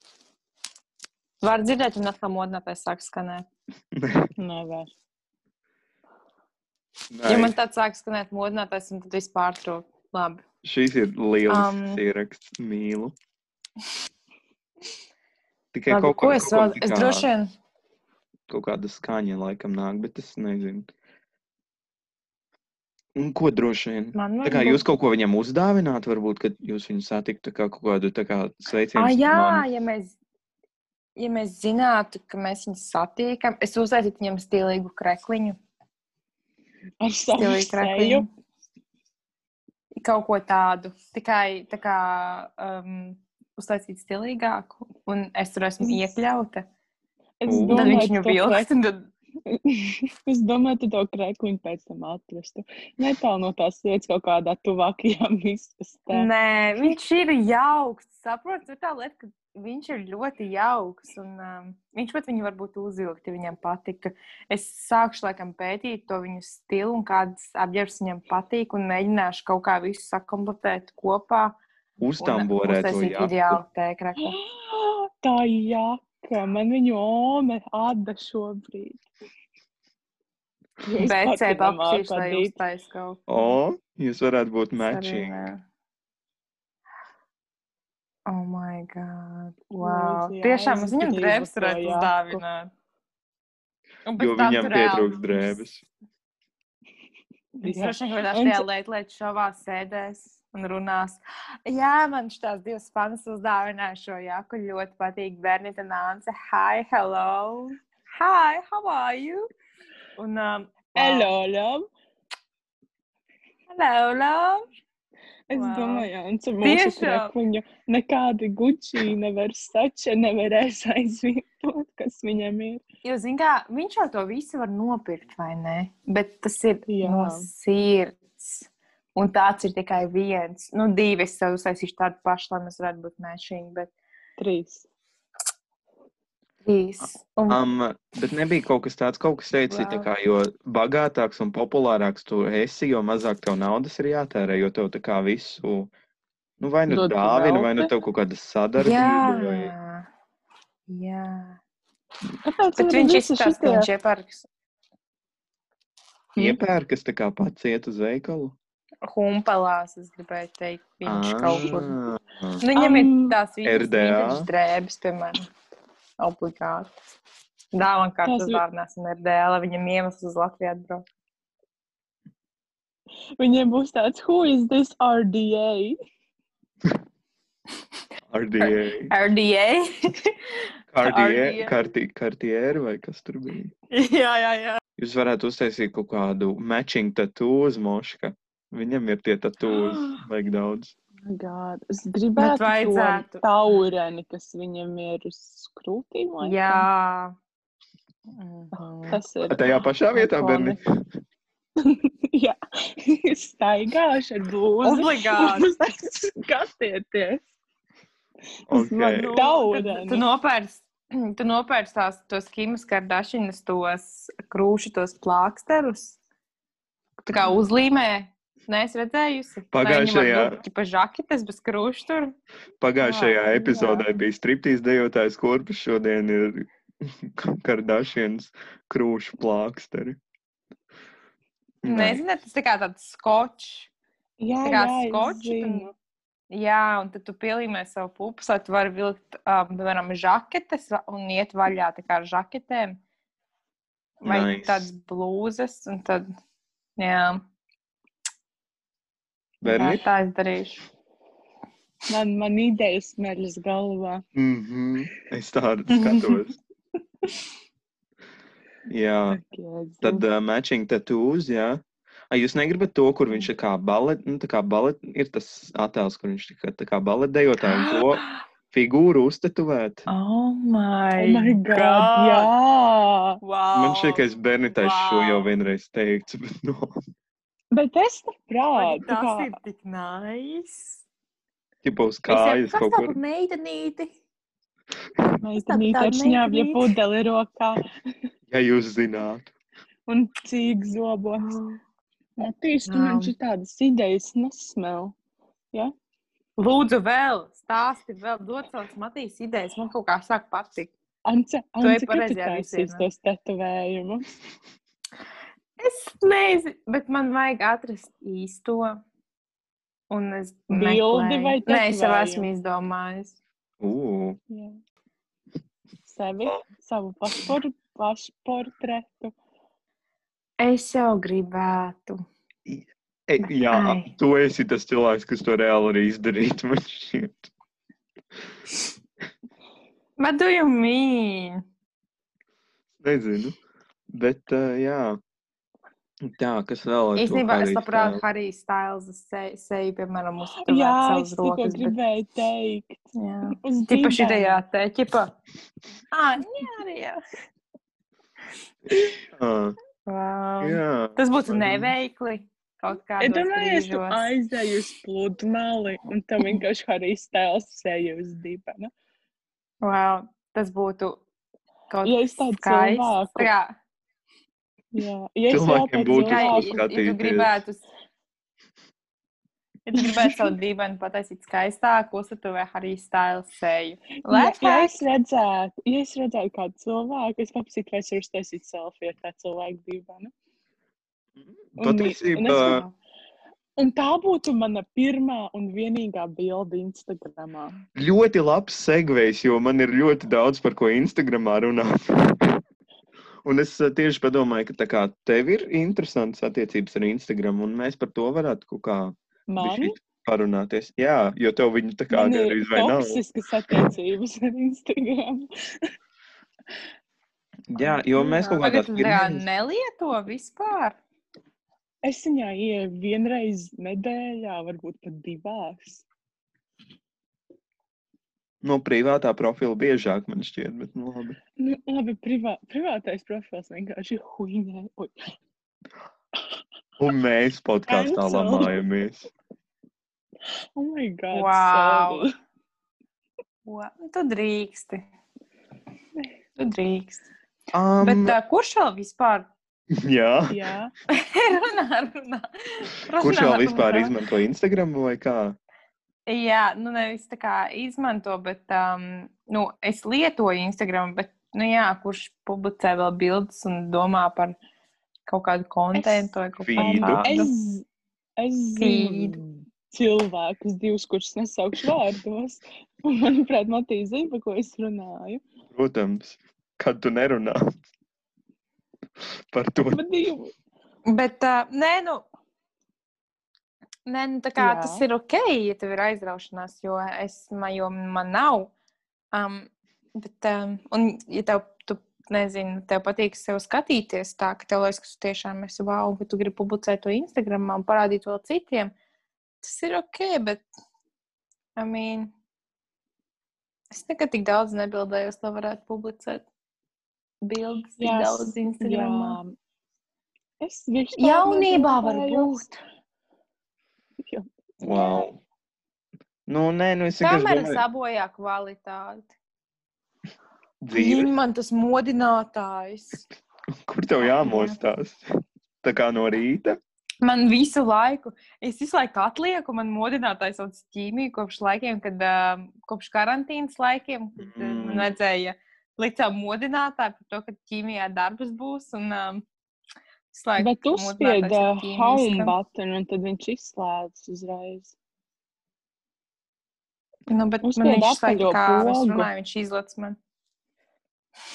[SPEAKER 1] Var dzirdēt, un atkal modinātais sāk skanēt.
[SPEAKER 2] nevar.
[SPEAKER 1] Ja
[SPEAKER 3] Nē,
[SPEAKER 1] man tāds sāk skanēt modinātais, un tad vispār trūk. Labi. Um,
[SPEAKER 3] šīs ir lielas
[SPEAKER 1] Am.
[SPEAKER 3] ieraksts, mīlu. Tikai
[SPEAKER 1] Labi, ko
[SPEAKER 3] kaut, ko,
[SPEAKER 1] es
[SPEAKER 3] kaut,
[SPEAKER 1] vēl?
[SPEAKER 3] ko
[SPEAKER 1] Es
[SPEAKER 3] tā,
[SPEAKER 1] droši vien.
[SPEAKER 3] kaut kāda skaņa laikam nāk, bet es nezinu. Un ko droši vien?
[SPEAKER 1] Man
[SPEAKER 3] Tā kā jūs kaut ko viņam uzdāvināt, varbūt, kad jūs viņu satiktu kā kaut kādu tā kā sveicienu.
[SPEAKER 1] Ah, jā,
[SPEAKER 3] man.
[SPEAKER 1] ja mēs, ja mēs zinātu, ka mēs viņus satiekam, es uzsācu viņam stilīgu krekliņu.
[SPEAKER 2] Ar savu
[SPEAKER 1] Stilīgu
[SPEAKER 2] seju.
[SPEAKER 1] krekliņu. Kaut ko tādu. Tikai tā kā um, uztaisīt stilīgāku, un es tur esmu iekļauta.
[SPEAKER 2] Es
[SPEAKER 3] Un
[SPEAKER 1] Tad
[SPEAKER 2] domāju,
[SPEAKER 1] viņš viņu
[SPEAKER 2] tu to
[SPEAKER 1] vilks. un Tad...
[SPEAKER 2] <laughs> es domāju, tu to krēkliņu pēc tam atrastu. Netālu no tās vietas kaut kādā tuvākajā <laughs> miskastē.
[SPEAKER 1] Nē, viņš ir jauks. Saprotu, ir tā lieta, ka viņš ir ļoti jauks. Un, um, viņš pat viņu varbūt uzvilkt, ja viņam patika. Es sākšu laikam pētīt to viņu stilu un kādas apģērbs viņam patīk. Un mēģināšu kaut kā visu sakomplektēt kopā.
[SPEAKER 3] Uztamborēt to
[SPEAKER 1] uztaisīt
[SPEAKER 3] jā.
[SPEAKER 1] ideālu tēkraku.
[SPEAKER 2] <gasps> Tā jaka, man viņu ome atda šobrīd. Jo es pati
[SPEAKER 1] BC
[SPEAKER 2] nemāku
[SPEAKER 1] papīrs, lai
[SPEAKER 2] adīt.
[SPEAKER 1] uztais kaut
[SPEAKER 3] O, jūs varētu būt matching.
[SPEAKER 1] Sarunā. Oh, my God. Wow.
[SPEAKER 2] Lūdzu, jā,
[SPEAKER 1] Tiešām
[SPEAKER 2] es
[SPEAKER 1] es viņam
[SPEAKER 2] gribu
[SPEAKER 1] drēbes
[SPEAKER 2] to
[SPEAKER 1] varētu
[SPEAKER 2] jaku.
[SPEAKER 1] uzdāvināt. Un pēc
[SPEAKER 3] Jo
[SPEAKER 1] tam
[SPEAKER 3] viņam
[SPEAKER 1] tu reāli
[SPEAKER 3] pietrūks
[SPEAKER 1] vis-
[SPEAKER 3] drēbes.
[SPEAKER 1] Viņš
[SPEAKER 2] Jā.
[SPEAKER 1] droši vien kaut kādā
[SPEAKER 2] Un
[SPEAKER 1] šajā
[SPEAKER 2] tu-
[SPEAKER 1] lētlēt šovā sēdēs un runās. Jā, man šitās divas panas uzdāvināja šo jaku. Ļoti patīk Bernita Nānce. Hi, hello! Hi, how are you? Un, um, wow.
[SPEAKER 2] Hello, love!
[SPEAKER 1] Hello, love!
[SPEAKER 2] Es
[SPEAKER 1] Wow.
[SPEAKER 2] wow. domāju, Ants, ar mūsu
[SPEAKER 1] Tiešām.
[SPEAKER 2] krēkliņu nekādi guči, nevar sača, nevarēs aizvietot, kas viņam ir.
[SPEAKER 1] Jo, zin kā, viņš jau to visu var nopirkt, vai ne? Bet tas ir
[SPEAKER 2] Jā.
[SPEAKER 1] Jā. no sirds. Un tāds ir tikai viens. Nu, divi es sev uztaisīšu tādu pašu, lai mēs varētu būt mešīgi, bet
[SPEAKER 2] Trīs.
[SPEAKER 1] trīs. Un,
[SPEAKER 3] Um, bet nebija kaut kas tāds, kaut kas teica, tā
[SPEAKER 1] Wow.
[SPEAKER 3] kā, jo bagātāks un populārāks tu esi, jo mazāk tev naudas ir jātērē, jo tev tā kā visu, nu vai nu
[SPEAKER 2] Dod pa
[SPEAKER 3] dāvina, vai nu
[SPEAKER 2] velti.
[SPEAKER 3] tev kaut kāda
[SPEAKER 1] jā.
[SPEAKER 3] sadarbība. Vai...
[SPEAKER 1] Jā.
[SPEAKER 2] Kāpēc
[SPEAKER 1] Bet
[SPEAKER 2] man
[SPEAKER 1] viņš
[SPEAKER 2] visi
[SPEAKER 1] izskatās, ka
[SPEAKER 2] šitie-
[SPEAKER 1] viņš iepērks Hm?
[SPEAKER 2] Mm.
[SPEAKER 3] Iepērkas tā kā pats iet uz veikalu.
[SPEAKER 1] humpalās, es gribēju teikt, viņš
[SPEAKER 3] Ā.
[SPEAKER 1] kaut kur.
[SPEAKER 3] Ah,
[SPEAKER 1] Nu, viņam ir
[SPEAKER 2] Am,
[SPEAKER 1] tās visas
[SPEAKER 3] RDA.
[SPEAKER 1] vintage drēbes, piemēram, obligāti. Dāvana
[SPEAKER 2] Tās
[SPEAKER 1] kārtas
[SPEAKER 2] vi-
[SPEAKER 1] dārnēsim RDA, lai viņam iemesls uz Latviju atbraukt.
[SPEAKER 2] Viņiem būs tāds, who is this RDA?
[SPEAKER 3] RDA.
[SPEAKER 1] RDA.
[SPEAKER 3] Cartier,
[SPEAKER 1] RDA.
[SPEAKER 3] Carti- Cartier vai kas tur bija?
[SPEAKER 1] <laughs> jā, jā, jā.
[SPEAKER 3] Jūs varētu uztaisīt kaut kādu matching tatūzu moška. Viņam ir tie
[SPEAKER 2] <gasps>
[SPEAKER 3] tatūzi, vajag daudz.
[SPEAKER 2] God, es gribētu
[SPEAKER 1] vajadzētu.
[SPEAKER 2] to taurēni, kas viņam ir uz krūtīm. laikam.
[SPEAKER 1] jā. Mhm.
[SPEAKER 2] Tas ir.
[SPEAKER 3] Tajā pašā vietā,
[SPEAKER 2] Ikoni.
[SPEAKER 3] Berni.
[SPEAKER 2] Jā, <laughs> staigāšu ar
[SPEAKER 1] Oh
[SPEAKER 2] blūzi.
[SPEAKER 1] Obligāti.
[SPEAKER 2] <laughs> Skatieties!
[SPEAKER 3] Okay.
[SPEAKER 2] nu-
[SPEAKER 1] Tu- Tu nopērci. Tu nopērci tās tos Kimas kardašinas, tos krūšu, tos plāksterus. Tā kā uzlīmē. Nē, es redzēju,
[SPEAKER 3] Pagājušajā-
[SPEAKER 1] Tipā žaketes bez krūšu tur.
[SPEAKER 3] Pagājušajā
[SPEAKER 2] Jā,
[SPEAKER 3] epizodē bija striptīs dejotājs korpus, šodien ir <laughs> kardašienas krūšu plāksteri.
[SPEAKER 1] Nezinu, tas tā kā tāds skočs.
[SPEAKER 2] Jā,
[SPEAKER 1] Tā kā
[SPEAKER 2] jā, es
[SPEAKER 1] skoči, tu-
[SPEAKER 2] zinu.
[SPEAKER 1] Jā, un tad tu pielīmē savu pupu, lai tu vari vilkt, um, piemēram, žaketes va- un iet vaļā tā kā ar žaketēm. Vai
[SPEAKER 3] Nice.
[SPEAKER 1] nice. tādas blūzes, un tad, jā,
[SPEAKER 3] Berni?
[SPEAKER 1] tā, tā es darīšu.
[SPEAKER 2] Man, man idejas smērļas galvā.
[SPEAKER 3] Mhm. Es tādu
[SPEAKER 1] <laughs>
[SPEAKER 3] skatos. Jā.
[SPEAKER 2] Ak, Jēzus.
[SPEAKER 3] Tad
[SPEAKER 1] Mm.
[SPEAKER 3] uh, matching tattoos, jā. A, jūs negribat to, kur viņš ir kā balet, nu, tā kā balet, ir tas attēls, kur viņš tika, tā kā baletdejotājiem to
[SPEAKER 1] <gasps>
[SPEAKER 3] figūru uztetuvēt.
[SPEAKER 1] Oh
[SPEAKER 2] Oh
[SPEAKER 1] my,
[SPEAKER 2] my god, jā!
[SPEAKER 1] Wow.
[SPEAKER 3] Man šķiet, ka es bērnitais wow. šo jau
[SPEAKER 1] Oh, Wow.
[SPEAKER 3] vienreiz teicu, bet nu, <laughs> no.
[SPEAKER 2] Bet es
[SPEAKER 1] Vai
[SPEAKER 2] neprātu,
[SPEAKER 1] Tas
[SPEAKER 2] kā
[SPEAKER 1] ir tik nice.
[SPEAKER 3] Tipo uz
[SPEAKER 1] Es
[SPEAKER 3] kājas
[SPEAKER 1] jau, kas
[SPEAKER 3] kaut
[SPEAKER 1] tā
[SPEAKER 3] kur.
[SPEAKER 1] par meitenīti?
[SPEAKER 2] meitenīte ar
[SPEAKER 1] tāda
[SPEAKER 2] šņābļa
[SPEAKER 1] meitenīte.
[SPEAKER 2] pudeli rokā
[SPEAKER 3] Ja jūs zināt.
[SPEAKER 2] un cīgu zobos. Nē, tieši tu man
[SPEAKER 1] Jā.
[SPEAKER 2] šitādas idejas nesmēl.
[SPEAKER 1] Lūdzu, vēl stāsti, vēl dod savas matīs idejas. Man kaut kā sāk patikt.
[SPEAKER 2] Ance,
[SPEAKER 1] Tu ej
[SPEAKER 2] Ance, kad tu
[SPEAKER 1] pareizajā
[SPEAKER 2] taisīs
[SPEAKER 1] virzienā.
[SPEAKER 2] tos tetovējumus?
[SPEAKER 1] Es nezinu, bet man vajag atrast īsto. Un es
[SPEAKER 2] Bildi
[SPEAKER 1] meklēju.
[SPEAKER 2] vai
[SPEAKER 1] Nē, es jau
[SPEAKER 2] tetovējumu?
[SPEAKER 1] esmu izdomājis.
[SPEAKER 3] Ū,
[SPEAKER 2] Jā. sevi, savu pašpor, pašportretu.
[SPEAKER 1] Es jau gribētu.
[SPEAKER 3] E, jā,
[SPEAKER 1] Ai.
[SPEAKER 3] tu esi tas cilvēks, kas to reāli arī izdarītu. <laughs> Man šķiet,
[SPEAKER 1] What do you mean?
[SPEAKER 3] nezinu. Bet, uh, jā, tā, kas vēl ir.
[SPEAKER 1] Īstenībā es labprāt Harijs Stails seju, seju, piemēram,
[SPEAKER 2] Jā,
[SPEAKER 1] uzturēt savas
[SPEAKER 2] es tikko
[SPEAKER 1] rokas. Bet,
[SPEAKER 2] gribēju teikt.
[SPEAKER 1] jā.
[SPEAKER 2] Uz
[SPEAKER 1] Tipa
[SPEAKER 2] dibena.
[SPEAKER 1] šitajā te, tipa. Ā, nē, arī jā.
[SPEAKER 3] Uh,
[SPEAKER 1] Wow.
[SPEAKER 3] jā,
[SPEAKER 1] Tas būtu
[SPEAKER 3] Vai ne?
[SPEAKER 1] neveikli kaut kādā
[SPEAKER 2] Es domāju, es tu
[SPEAKER 1] veidā.
[SPEAKER 2] aizēju uz pludmali, un tam vienkārši arī stēls seju uz dibena.
[SPEAKER 1] Wow. Tas būtu kaut
[SPEAKER 2] Ja es tādu
[SPEAKER 1] skaists.
[SPEAKER 2] cilvēku-
[SPEAKER 1] Jā,
[SPEAKER 2] Jā, ja es jau
[SPEAKER 3] Cilvēkiem
[SPEAKER 2] par
[SPEAKER 3] būtu
[SPEAKER 1] jā, ja,
[SPEAKER 3] ko
[SPEAKER 2] cilvēku,
[SPEAKER 1] ja tu
[SPEAKER 3] skatīties.
[SPEAKER 1] gribētu. Ja tu gribētu savu dibenu pataisīt skaistāku, uzsatuvē Harijs Stails seju.
[SPEAKER 2] ja,
[SPEAKER 1] Let's
[SPEAKER 2] ja es redzētu, ja es redzētu kādu cilvēku, es paprasītu, vai es varu uztaisīt selfiju ar tā cilvēku dibenu. Un mi- un
[SPEAKER 3] Patiesībā,
[SPEAKER 2] es- Un tā būtu mana pirmā un vienīgā bilde Instagramā.
[SPEAKER 3] ļoti labs segvejs, jo man ir ļoti daudz par ko Instagramā runāt. <laughs> Un es eh, tieši padomāju, ka tā kā tev ir interesants attiecības ar Instagram, un mēs par to varētu kaut kā
[SPEAKER 2] Man,
[SPEAKER 3] bišķīt parunāties. Jā, jo tev viņu tā kā
[SPEAKER 2] man ir
[SPEAKER 3] gandrīz vai nav.
[SPEAKER 2] toksiskas attiecības ar Instagram.
[SPEAKER 3] Jā, jo mēs kaut kādā
[SPEAKER 1] Tagad tu tā
[SPEAKER 3] pirmajās-
[SPEAKER 1] nelieto vispār.
[SPEAKER 2] Es viņā ieju vienreiz nedēļā, varbūt pat divās.
[SPEAKER 3] no privātā profila biežāk man šķiet, bet nu labi.
[SPEAKER 2] Nu, labi, privā, privātais profils vienkārši ir huīņē.
[SPEAKER 3] Un mēs podkāstā
[SPEAKER 2] Cancel.
[SPEAKER 3] lamājamies.
[SPEAKER 2] Oh my god!
[SPEAKER 1] Wow.
[SPEAKER 2] sorry.
[SPEAKER 1] O, nu Tu drīksti. Tu drīksti.
[SPEAKER 3] Um,
[SPEAKER 1] Bet uh, kurš vēl vispār
[SPEAKER 3] <laughs>
[SPEAKER 1] <laughs>
[SPEAKER 3] jā.
[SPEAKER 2] Jā,
[SPEAKER 1] runā, runā?
[SPEAKER 3] Kurš
[SPEAKER 1] Runā,
[SPEAKER 3] vēl vispār
[SPEAKER 1] runā.
[SPEAKER 3] izmanto Instagram vai kā?
[SPEAKER 1] Jā, nu nevis tā kā izmanto, bet um, nu, es lietoju Instagram, bet nu, jā, kurš publicē vēl bildes un domā par kaut kādu kontentu vai kaut ko
[SPEAKER 3] Feedu.
[SPEAKER 1] tādu.
[SPEAKER 2] es, es zinu cilvēkus, divus, kurus nesaukšu vārdos. Un, manuprāt, Matīna zina, par ko es runāju.
[SPEAKER 3] Protams, kad tu nerunā par to.
[SPEAKER 2] Bet divi.
[SPEAKER 1] Bet uh, nē, nu. Nē, nu, tā kā
[SPEAKER 2] Jā.
[SPEAKER 1] jā. tas ir ok, ja tev ir aizraušanās, jo, es, ma- jo man nav. Um, bet, um, un, ja tev, tu, nezinu, tev patīk sev skatīties, tā ka tev liekas, ka tu tiešām esi wow, ka tu gribi publicēt to Instagram un parādīt to citiem, tas ir ok, bet, I mean, es nekad tik daudz nebildējos, lai varētu publicēt bildes tik
[SPEAKER 2] Jā, es-
[SPEAKER 1] daudz Instagramā.
[SPEAKER 2] Jā. Es vienkārši. tā
[SPEAKER 1] Jaunībā var
[SPEAKER 2] nebildējos.
[SPEAKER 1] būt.
[SPEAKER 3] Wow. Nu, nē, nu es vienkārši
[SPEAKER 1] Kamera
[SPEAKER 3] domāju,
[SPEAKER 1] sabojā kvalitāti.
[SPEAKER 3] dzīve,
[SPEAKER 1] Viņa man tas modinātājs.
[SPEAKER 3] kur tev jāmostās. Tā kā no rīta.
[SPEAKER 1] Man visu laiku, es visu laiku atlieku, man modinātājs sauc ķīmiju kopš laikiem, kad um, kopš karantīnas laikiem, kad mm.
[SPEAKER 3] Mm.
[SPEAKER 1] man vajadzēja likt savu modinātāju par to, ka ķīmijā darbs būs. Un, um, visu laiku
[SPEAKER 2] Bet uh,
[SPEAKER 1] modinātājs
[SPEAKER 2] uzspieda
[SPEAKER 1] ar ķīmiju
[SPEAKER 2] home
[SPEAKER 1] skan.
[SPEAKER 2] button, un tad viņš izslēdz uzreiz.
[SPEAKER 1] Nu, bet man
[SPEAKER 2] uzspieda
[SPEAKER 1] viņš visu laiku,
[SPEAKER 2] apaļo
[SPEAKER 1] kā es
[SPEAKER 2] pogu.
[SPEAKER 1] runāju, viņš izlec man.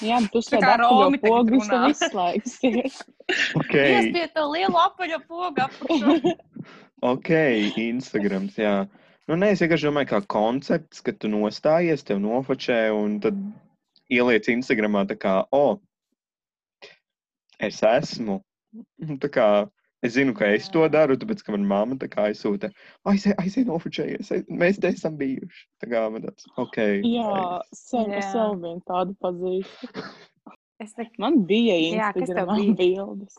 [SPEAKER 2] Jā, bet tu
[SPEAKER 1] Tā kā
[SPEAKER 2] uzspieda apaļo
[SPEAKER 1] Romi tagad
[SPEAKER 2] pogu, viņš tev
[SPEAKER 1] runā. <laughs>
[SPEAKER 2] izslēgsies.
[SPEAKER 1] Es
[SPEAKER 3] Ok,
[SPEAKER 1] pie tā liela apaļo poga apakšā.
[SPEAKER 2] <laughs>
[SPEAKER 3] ok, Instagrams, jā. Nu, nē, es vienkārši domāju, kā koncepts, ka tu nostājies, tev nofočē un tad ieliec Instagramā tā kā, o, oh, es esmu. Nu, Tā kā es zinu, ka es to
[SPEAKER 1] Jā.
[SPEAKER 3] daru, tāpēc, ka man mamma tā kā aizsūta, aizie, aizie nofočējies, aiz- mēs te esam bijuši. Tā kā man tāds, ok.
[SPEAKER 2] Jā, sen,
[SPEAKER 1] Jā.
[SPEAKER 2] es vēl vienu tādu pazīstu.
[SPEAKER 1] Es nek-
[SPEAKER 2] Man bija
[SPEAKER 1] Jā, kas tev
[SPEAKER 2] Instagramā
[SPEAKER 1] bija?
[SPEAKER 2] bildes.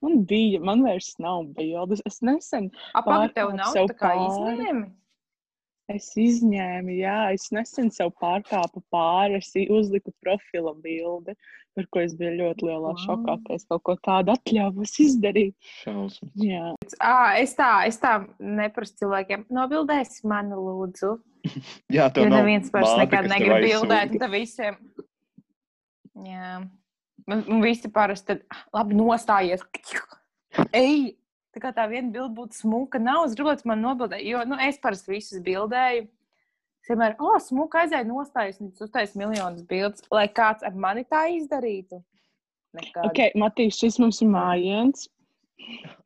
[SPEAKER 2] Man bija, man vairs nav bildes. Es nesen,
[SPEAKER 1] A, pagaidi, tev
[SPEAKER 2] Pārkāpt
[SPEAKER 1] nav
[SPEAKER 2] sev
[SPEAKER 1] tā kā
[SPEAKER 2] pāri.
[SPEAKER 1] izņēmumi.
[SPEAKER 2] es izņēmu, jā, es nesen sev pārkāpu pāri, es i- uzliku profila bildi, par ko es biju ļoti lielā
[SPEAKER 1] Vau.
[SPEAKER 2] šokā, ka es kaut ko tādu atļāvos izdarīt.
[SPEAKER 3] Šausmas.
[SPEAKER 2] Jā,
[SPEAKER 1] À, es tā, es tā neprasu cilvēkiem. Nobildēs man, lūdzu.
[SPEAKER 3] Jā,
[SPEAKER 1] Jo
[SPEAKER 3] tev nav
[SPEAKER 1] neviens vairs
[SPEAKER 3] māte,
[SPEAKER 1] nekad
[SPEAKER 3] kas tev
[SPEAKER 1] negrib
[SPEAKER 3] aizsūta.
[SPEAKER 1] bildēt, un tad visiem. Jā. Un un visi parasti tad "Ah, labi nostājies. Ej! Tā kā tā viena bilde būtu smuka, nav uzgrūts man nobildēt, jo nu, es parasti visus bildēju. Es vienmēr, o, oh, smuka aizēja nostājas, un tas uztais miljonus bildes, lai kāds ar mani tā izdarītu. Nekādu.
[SPEAKER 2] Ok, Matīs, šis mums ir mājiens.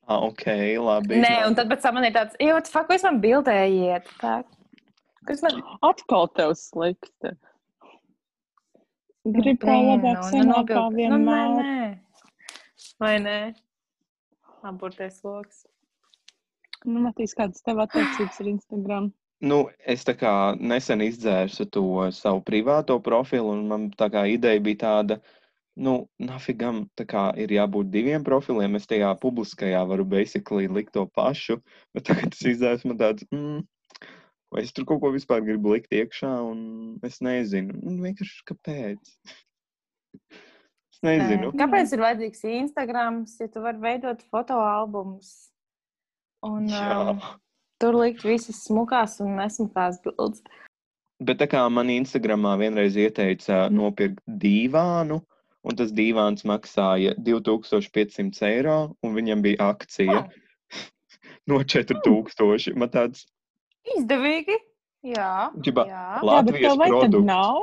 [SPEAKER 3] Ah, ok, labi.
[SPEAKER 1] Nē, un tad pēc tam man ir tāds, jo, fuck, kas man bildējiet? Tā. Kas man
[SPEAKER 2] Atkal tev slikti. Gribu kā labāk sanāk kā
[SPEAKER 1] Nu, nē,
[SPEAKER 2] vienmēr.
[SPEAKER 1] nē. Vai nē? Apburties loks.
[SPEAKER 2] Nu, Matīs, kādas tev attiecības ar Instagram?
[SPEAKER 3] Nu, es tā kā nesen izdzēru to savu privāto profilu, un man tā kā ideja bija tāda, nu, nafigam, tā kā ir jābūt diviem profiliem. Es tajā publiskajā varu basically likt to pašu, bet tagad tas izdzērs man tāds, mm, vai es tur kaut ko vispār gribu likt iekšā, un es nezinu. Un vienkārši kāpēc? Es nezinu.
[SPEAKER 1] Kāpēc ir vajadzīgs Instagrams, ja tu vari veidot fotoalbumus? Un
[SPEAKER 3] Jā.
[SPEAKER 1] um, tur likt visas smukās un nesmukās bildes.
[SPEAKER 3] Bet tā kā man Instagramā vienreiz ieteica
[SPEAKER 2] Mm.
[SPEAKER 3] nopirkt dīvānu, un tas dīvāns maksāja 2500 eiro, un viņam bija akcija
[SPEAKER 2] Ah.
[SPEAKER 1] Oh.
[SPEAKER 3] <laughs> no 4000. Man tāds
[SPEAKER 1] Izdevīgi. Jā.
[SPEAKER 3] Ģiba,
[SPEAKER 1] jā.
[SPEAKER 3] la- Latvijas
[SPEAKER 2] Ah, Jā, bet tev vai tad
[SPEAKER 3] produkts.
[SPEAKER 2] nav?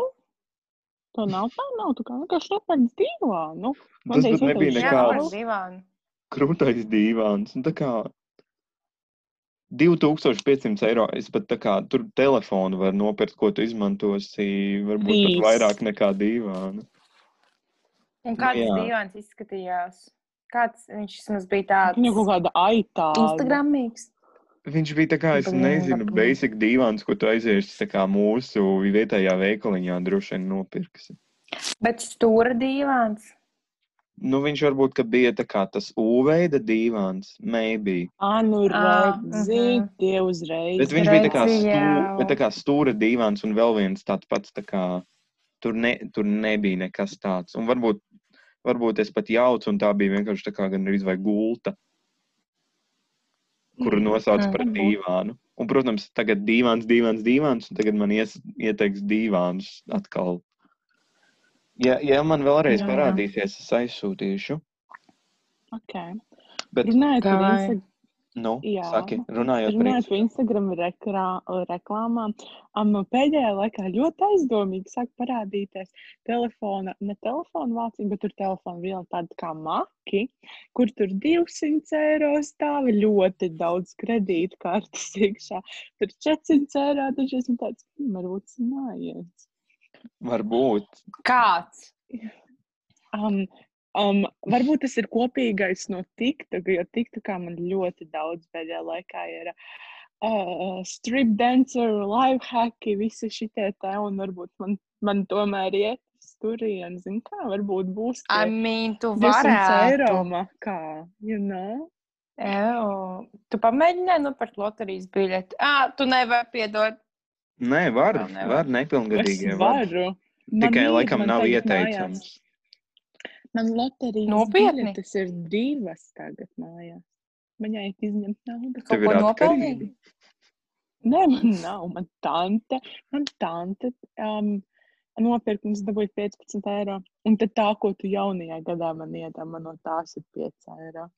[SPEAKER 2] To nav tā, nav. Tu kā vienkārši nopērci divā. Nu,
[SPEAKER 3] Tas pat nebija
[SPEAKER 1] Jā,
[SPEAKER 3] nekāds.
[SPEAKER 1] par divām.
[SPEAKER 3] krūtais dīvāns. un tā kā 2500 eiro. Es pat tā kā tur telefonu varu nopirkt, ko tu izmantosi. Varbūt pat
[SPEAKER 2] Viss.
[SPEAKER 3] vairāk nekā dīvānu.
[SPEAKER 1] Un
[SPEAKER 3] Nu,
[SPEAKER 1] kāds
[SPEAKER 3] jā.
[SPEAKER 1] divans izskatījās? Kāds viņš vismaz bija tāds?
[SPEAKER 2] Viņa kaut kāda aitā.
[SPEAKER 1] Instagramīgs.
[SPEAKER 3] Viņš bija tā kā, es
[SPEAKER 1] Blin,
[SPEAKER 3] nezinu,
[SPEAKER 1] blin.
[SPEAKER 3] basic dīvāns, ko tu aiziesi tā kā mūsu vietējā veikaliņā droši vien nopirksi.
[SPEAKER 1] Bet stūra divans.
[SPEAKER 3] Nu, viņš varbūt ka bija tā kā tas U-veida dīvāns, maybe.
[SPEAKER 2] Anu
[SPEAKER 1] Ah,
[SPEAKER 2] redzi,
[SPEAKER 1] mhm.
[SPEAKER 2] tie uzreiz.
[SPEAKER 3] Bet viņš bija tā kā,
[SPEAKER 1] Redzi,
[SPEAKER 3] stū,
[SPEAKER 1] jā.
[SPEAKER 3] bet tā kā stūra dīvāns un vēl viens tāds pats. Tā kā, tur, ne, tur nebija nekas tāds. Un varbūt, varbūt es pat jaucu, un tā bija vienkārši tā kā gandrīz vai gulta, kuru nosauc
[SPEAKER 1] Mm.
[SPEAKER 3] par
[SPEAKER 2] Varbūt.
[SPEAKER 3] dīvānu. Un, protams, tagad dīvāns, dīvāns, dīvāns, un tagad man ies, ieteiks dīvāns atkal. Ja, ja man vēlreiz
[SPEAKER 1] Jā,
[SPEAKER 3] jā,
[SPEAKER 1] jā.
[SPEAKER 3] parādīsies, jā. es aizsūtīšu.
[SPEAKER 2] Okay.
[SPEAKER 3] Bet,
[SPEAKER 2] Runājot par
[SPEAKER 1] Davai.
[SPEAKER 2] Instagram.
[SPEAKER 3] nu,
[SPEAKER 2] Jā.
[SPEAKER 3] saki, runājot par
[SPEAKER 2] Runājot par Instagram rekrā- reklāmām, am, pēdējā laikā ļoti aizdomīgi sāk parādīties telefona, ne telefona vāciņa, bet tur telefona viela tāda kā maki, kur tur 200 eiro stāv ļoti daudz kredītkartes iekšā. Tur 400 eiro, tad esmu tāds, "Hmm, varbūt zinājies.
[SPEAKER 3] varbūt.
[SPEAKER 1] Kāds?
[SPEAKER 2] Um, um, varbūt tas ir kopīgais no TikTok, jo TikTokā man ļoti daudz pēdējā laikā ir uh, strip dancer, live hacki, visi šitie te, un varbūt man, man tomēr iet uz turieni, zin kā, varbūt būs
[SPEAKER 1] I
[SPEAKER 2] tie
[SPEAKER 1] mean, tu
[SPEAKER 2] 200
[SPEAKER 1] varētu.
[SPEAKER 2] eiro makā, you know?
[SPEAKER 1] Ew. Tu pamēģināji nopirkt loterijas biļeti. Ā, tu nevari piedot.
[SPEAKER 3] Nē, var,
[SPEAKER 1] Vēl nevar.
[SPEAKER 3] var
[SPEAKER 2] Es
[SPEAKER 3] nepilngadīgie. var.
[SPEAKER 2] varu. Man
[SPEAKER 3] Tikai
[SPEAKER 2] ir,
[SPEAKER 3] laikam
[SPEAKER 2] man
[SPEAKER 3] nav
[SPEAKER 2] tagad
[SPEAKER 3] ieteicams.
[SPEAKER 2] mājās- Man loterijas
[SPEAKER 1] Nopietni?
[SPEAKER 2] biļetes ir divas tagad mājās. Man jāiet izņemt naudu.
[SPEAKER 1] Kaut
[SPEAKER 3] Tev ir
[SPEAKER 1] ko
[SPEAKER 3] atkarība?
[SPEAKER 1] nopelnīt?
[SPEAKER 2] Nē, man nav. Man tante, man tante um, nopirka mums dabūja 15 eiro. Un tad tā, ko tu jaunajā gadā man iedod, man no tās ir 5 eiro.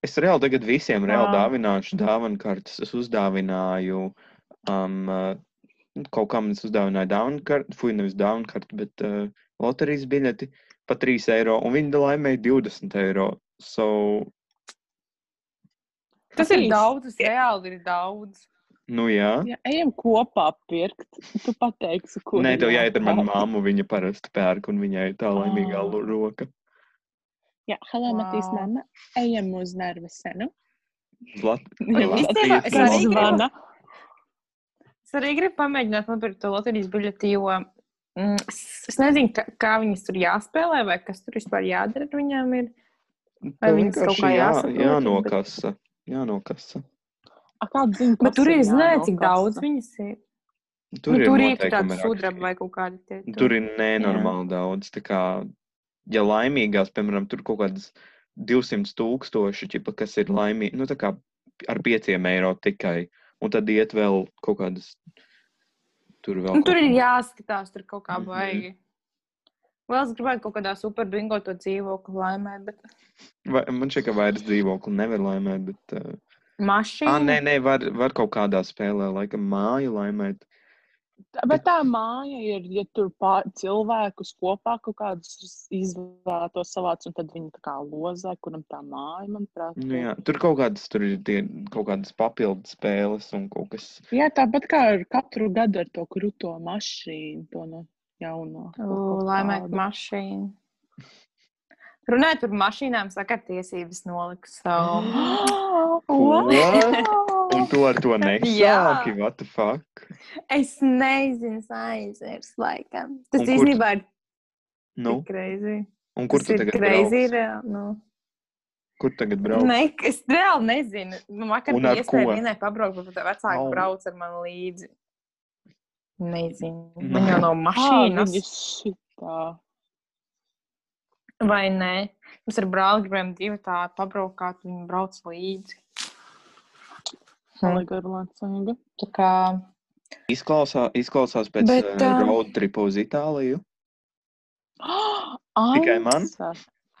[SPEAKER 3] Es reāli tagad visiem reāli
[SPEAKER 1] Vau.
[SPEAKER 3] dāvināšu dāvanu kartes. Es uzdāvināju um, kaut kam, es uzdāvināju dāvanu karti, fuck, nevis dāvanu karti, bet uh, loterijas biļeti pa 3 eiro, un viņi laimēja 20 eiro. So,
[SPEAKER 1] Tas ir
[SPEAKER 2] Patīs.
[SPEAKER 1] daudz, tas reāli ir daudz.
[SPEAKER 3] nu jā.
[SPEAKER 2] Ja ejam kopā pirkt, tu pateiksi, ko.
[SPEAKER 3] Nē, tev jāiet ar manu
[SPEAKER 2] jāpērk.
[SPEAKER 3] māmu, viņa parasti pērk, un viņai tā laimīgā
[SPEAKER 2] Ā.
[SPEAKER 3] lu- roka.
[SPEAKER 2] Jā, hello, wow. Matīs,
[SPEAKER 1] Vau.
[SPEAKER 2] mamma. Ejam uz nervesenu.
[SPEAKER 3] Zlat...
[SPEAKER 2] Jā,
[SPEAKER 3] Latvijas
[SPEAKER 1] īstenībā es
[SPEAKER 3] loterija.
[SPEAKER 1] arī gribu-
[SPEAKER 2] Zvana.
[SPEAKER 1] Es arī gribu pamēģināt nopirkt to loterijas biļeti, jo mm, es, es nezinu, kā, kā viņas tur jāspēlē vai kas tur vispār jādara. ar Viņām ir. Vai
[SPEAKER 3] Tev
[SPEAKER 1] viņas kaut
[SPEAKER 3] vienkārši
[SPEAKER 1] kā
[SPEAKER 3] jā,
[SPEAKER 1] jāsaprot, bet-
[SPEAKER 3] jānokasa. Jānokasa.
[SPEAKER 2] A, Kāds zina,
[SPEAKER 1] Bet
[SPEAKER 2] kas
[SPEAKER 1] tur ir, zināju,
[SPEAKER 2] jānokasa?
[SPEAKER 1] cik daudz viņas ir.
[SPEAKER 3] Tur
[SPEAKER 1] nu,
[SPEAKER 3] ir,
[SPEAKER 1] tur ir
[SPEAKER 3] noteikumi
[SPEAKER 1] tāda
[SPEAKER 3] rakstīt.
[SPEAKER 1] sudraba vai kaut kāda. tie
[SPEAKER 3] Un
[SPEAKER 1] tur.
[SPEAKER 3] Tur ir nenormāli daudz. tā Kā, ja laimīgās, piemēram, tur kaut kādas 200 tūkstoši, ķipa, kas ir laimīgi, nu, tā kā ar 5 eiro tikai, un tad iet vēl kaut kādas. Tur vēl
[SPEAKER 1] Nu, tur
[SPEAKER 3] kaut
[SPEAKER 1] ir
[SPEAKER 3] kā-
[SPEAKER 1] jāskatās, tur kaut kā
[SPEAKER 3] Mhm.
[SPEAKER 1] baigi. Vēl es gribēju kaut kādā superbingo to dzīvokli laimēt, bet
[SPEAKER 3] Vai, man šķiet, ka vairs dzīvokli nevar laimēt. Bet, uh...
[SPEAKER 1] mašīna.
[SPEAKER 3] ah, nē, nē, var, var kaut kādā spēlē, laikam, māju laimēt.
[SPEAKER 2] Tā- Bet tā māja ir, ja tur pā, cilvēkus kopā kaut kādus izvēlētos savāc, un tad viņi tā kā lozē, kuram tā māja, manuprāt.
[SPEAKER 3] Nu,
[SPEAKER 2] ir.
[SPEAKER 3] jā, tur kaut kādas, tur ir tie, kaut kādas papildu spēles un kaut kas.
[SPEAKER 2] jā, tāpat kā ar katru gadu ar to kruto mašīnu, to no jauno.
[SPEAKER 3] nu,
[SPEAKER 2] kaut ko
[SPEAKER 1] Laimēta
[SPEAKER 2] tādu. <gasps>
[SPEAKER 1] mašīna. Runājot par mašīnām, saka, tiesības noliks savu. <laughs>
[SPEAKER 3] <gasps>
[SPEAKER 2] What?
[SPEAKER 3] Un to ar to
[SPEAKER 1] Jā.
[SPEAKER 3] nesāki, what the fuck?
[SPEAKER 1] Es nezinu, aizvērs laikam. Tas
[SPEAKER 3] Un kur-
[SPEAKER 1] īstenībā ir
[SPEAKER 3] Nu,
[SPEAKER 1] tik greizi.
[SPEAKER 3] un kur
[SPEAKER 1] Tas
[SPEAKER 3] tu
[SPEAKER 1] ir
[SPEAKER 3] tagad
[SPEAKER 1] greizi.
[SPEAKER 3] brauc?
[SPEAKER 1] Nu.
[SPEAKER 3] Kur tagad brauc?
[SPEAKER 1] Nē, es reāli nezinu. Man vakar
[SPEAKER 3] Un ar
[SPEAKER 1] bija iespēja
[SPEAKER 3] ko?
[SPEAKER 1] vienai pabraukt, bet vecāki
[SPEAKER 3] Au.
[SPEAKER 1] brauc ar mani līdzi. Nezinu.
[SPEAKER 3] Nu.
[SPEAKER 1] Man jau no
[SPEAKER 2] Ā,
[SPEAKER 1] mašīnas.
[SPEAKER 2] viņi Ah, šitā.
[SPEAKER 1] Vai nē? Mums ir brāli, kuriem divi tādi pabraukāt, viņi brauc līdzi.
[SPEAKER 2] Hm. <gasps> Aligarlancīga.
[SPEAKER 1] Tā kā
[SPEAKER 3] Izklausā, izklausās pēc
[SPEAKER 1] Bet,
[SPEAKER 3] Bet, uh,
[SPEAKER 1] ā,
[SPEAKER 3] road tripa uz Itāliju.
[SPEAKER 2] Tikai
[SPEAKER 3] man?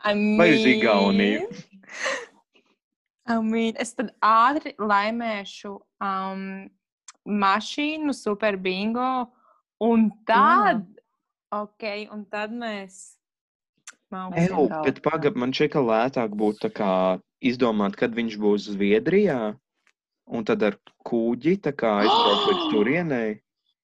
[SPEAKER 1] I
[SPEAKER 3] Vai uz
[SPEAKER 1] mean-
[SPEAKER 3] Igauniju?
[SPEAKER 1] I mean, es tad ātri laimēšu um, mašīnu, superbingo, un tad, ok, un tad mēs. Mount
[SPEAKER 2] Mēs
[SPEAKER 3] Eju,
[SPEAKER 1] Sinai.
[SPEAKER 2] braucam.
[SPEAKER 3] bet pagad, man šķiet, ka lētāk būtu tā kā izdomāt, kad viņš būs Zviedrijā, un tad ar kūģi tā kā aizbraukt <gasps> līdz turienei.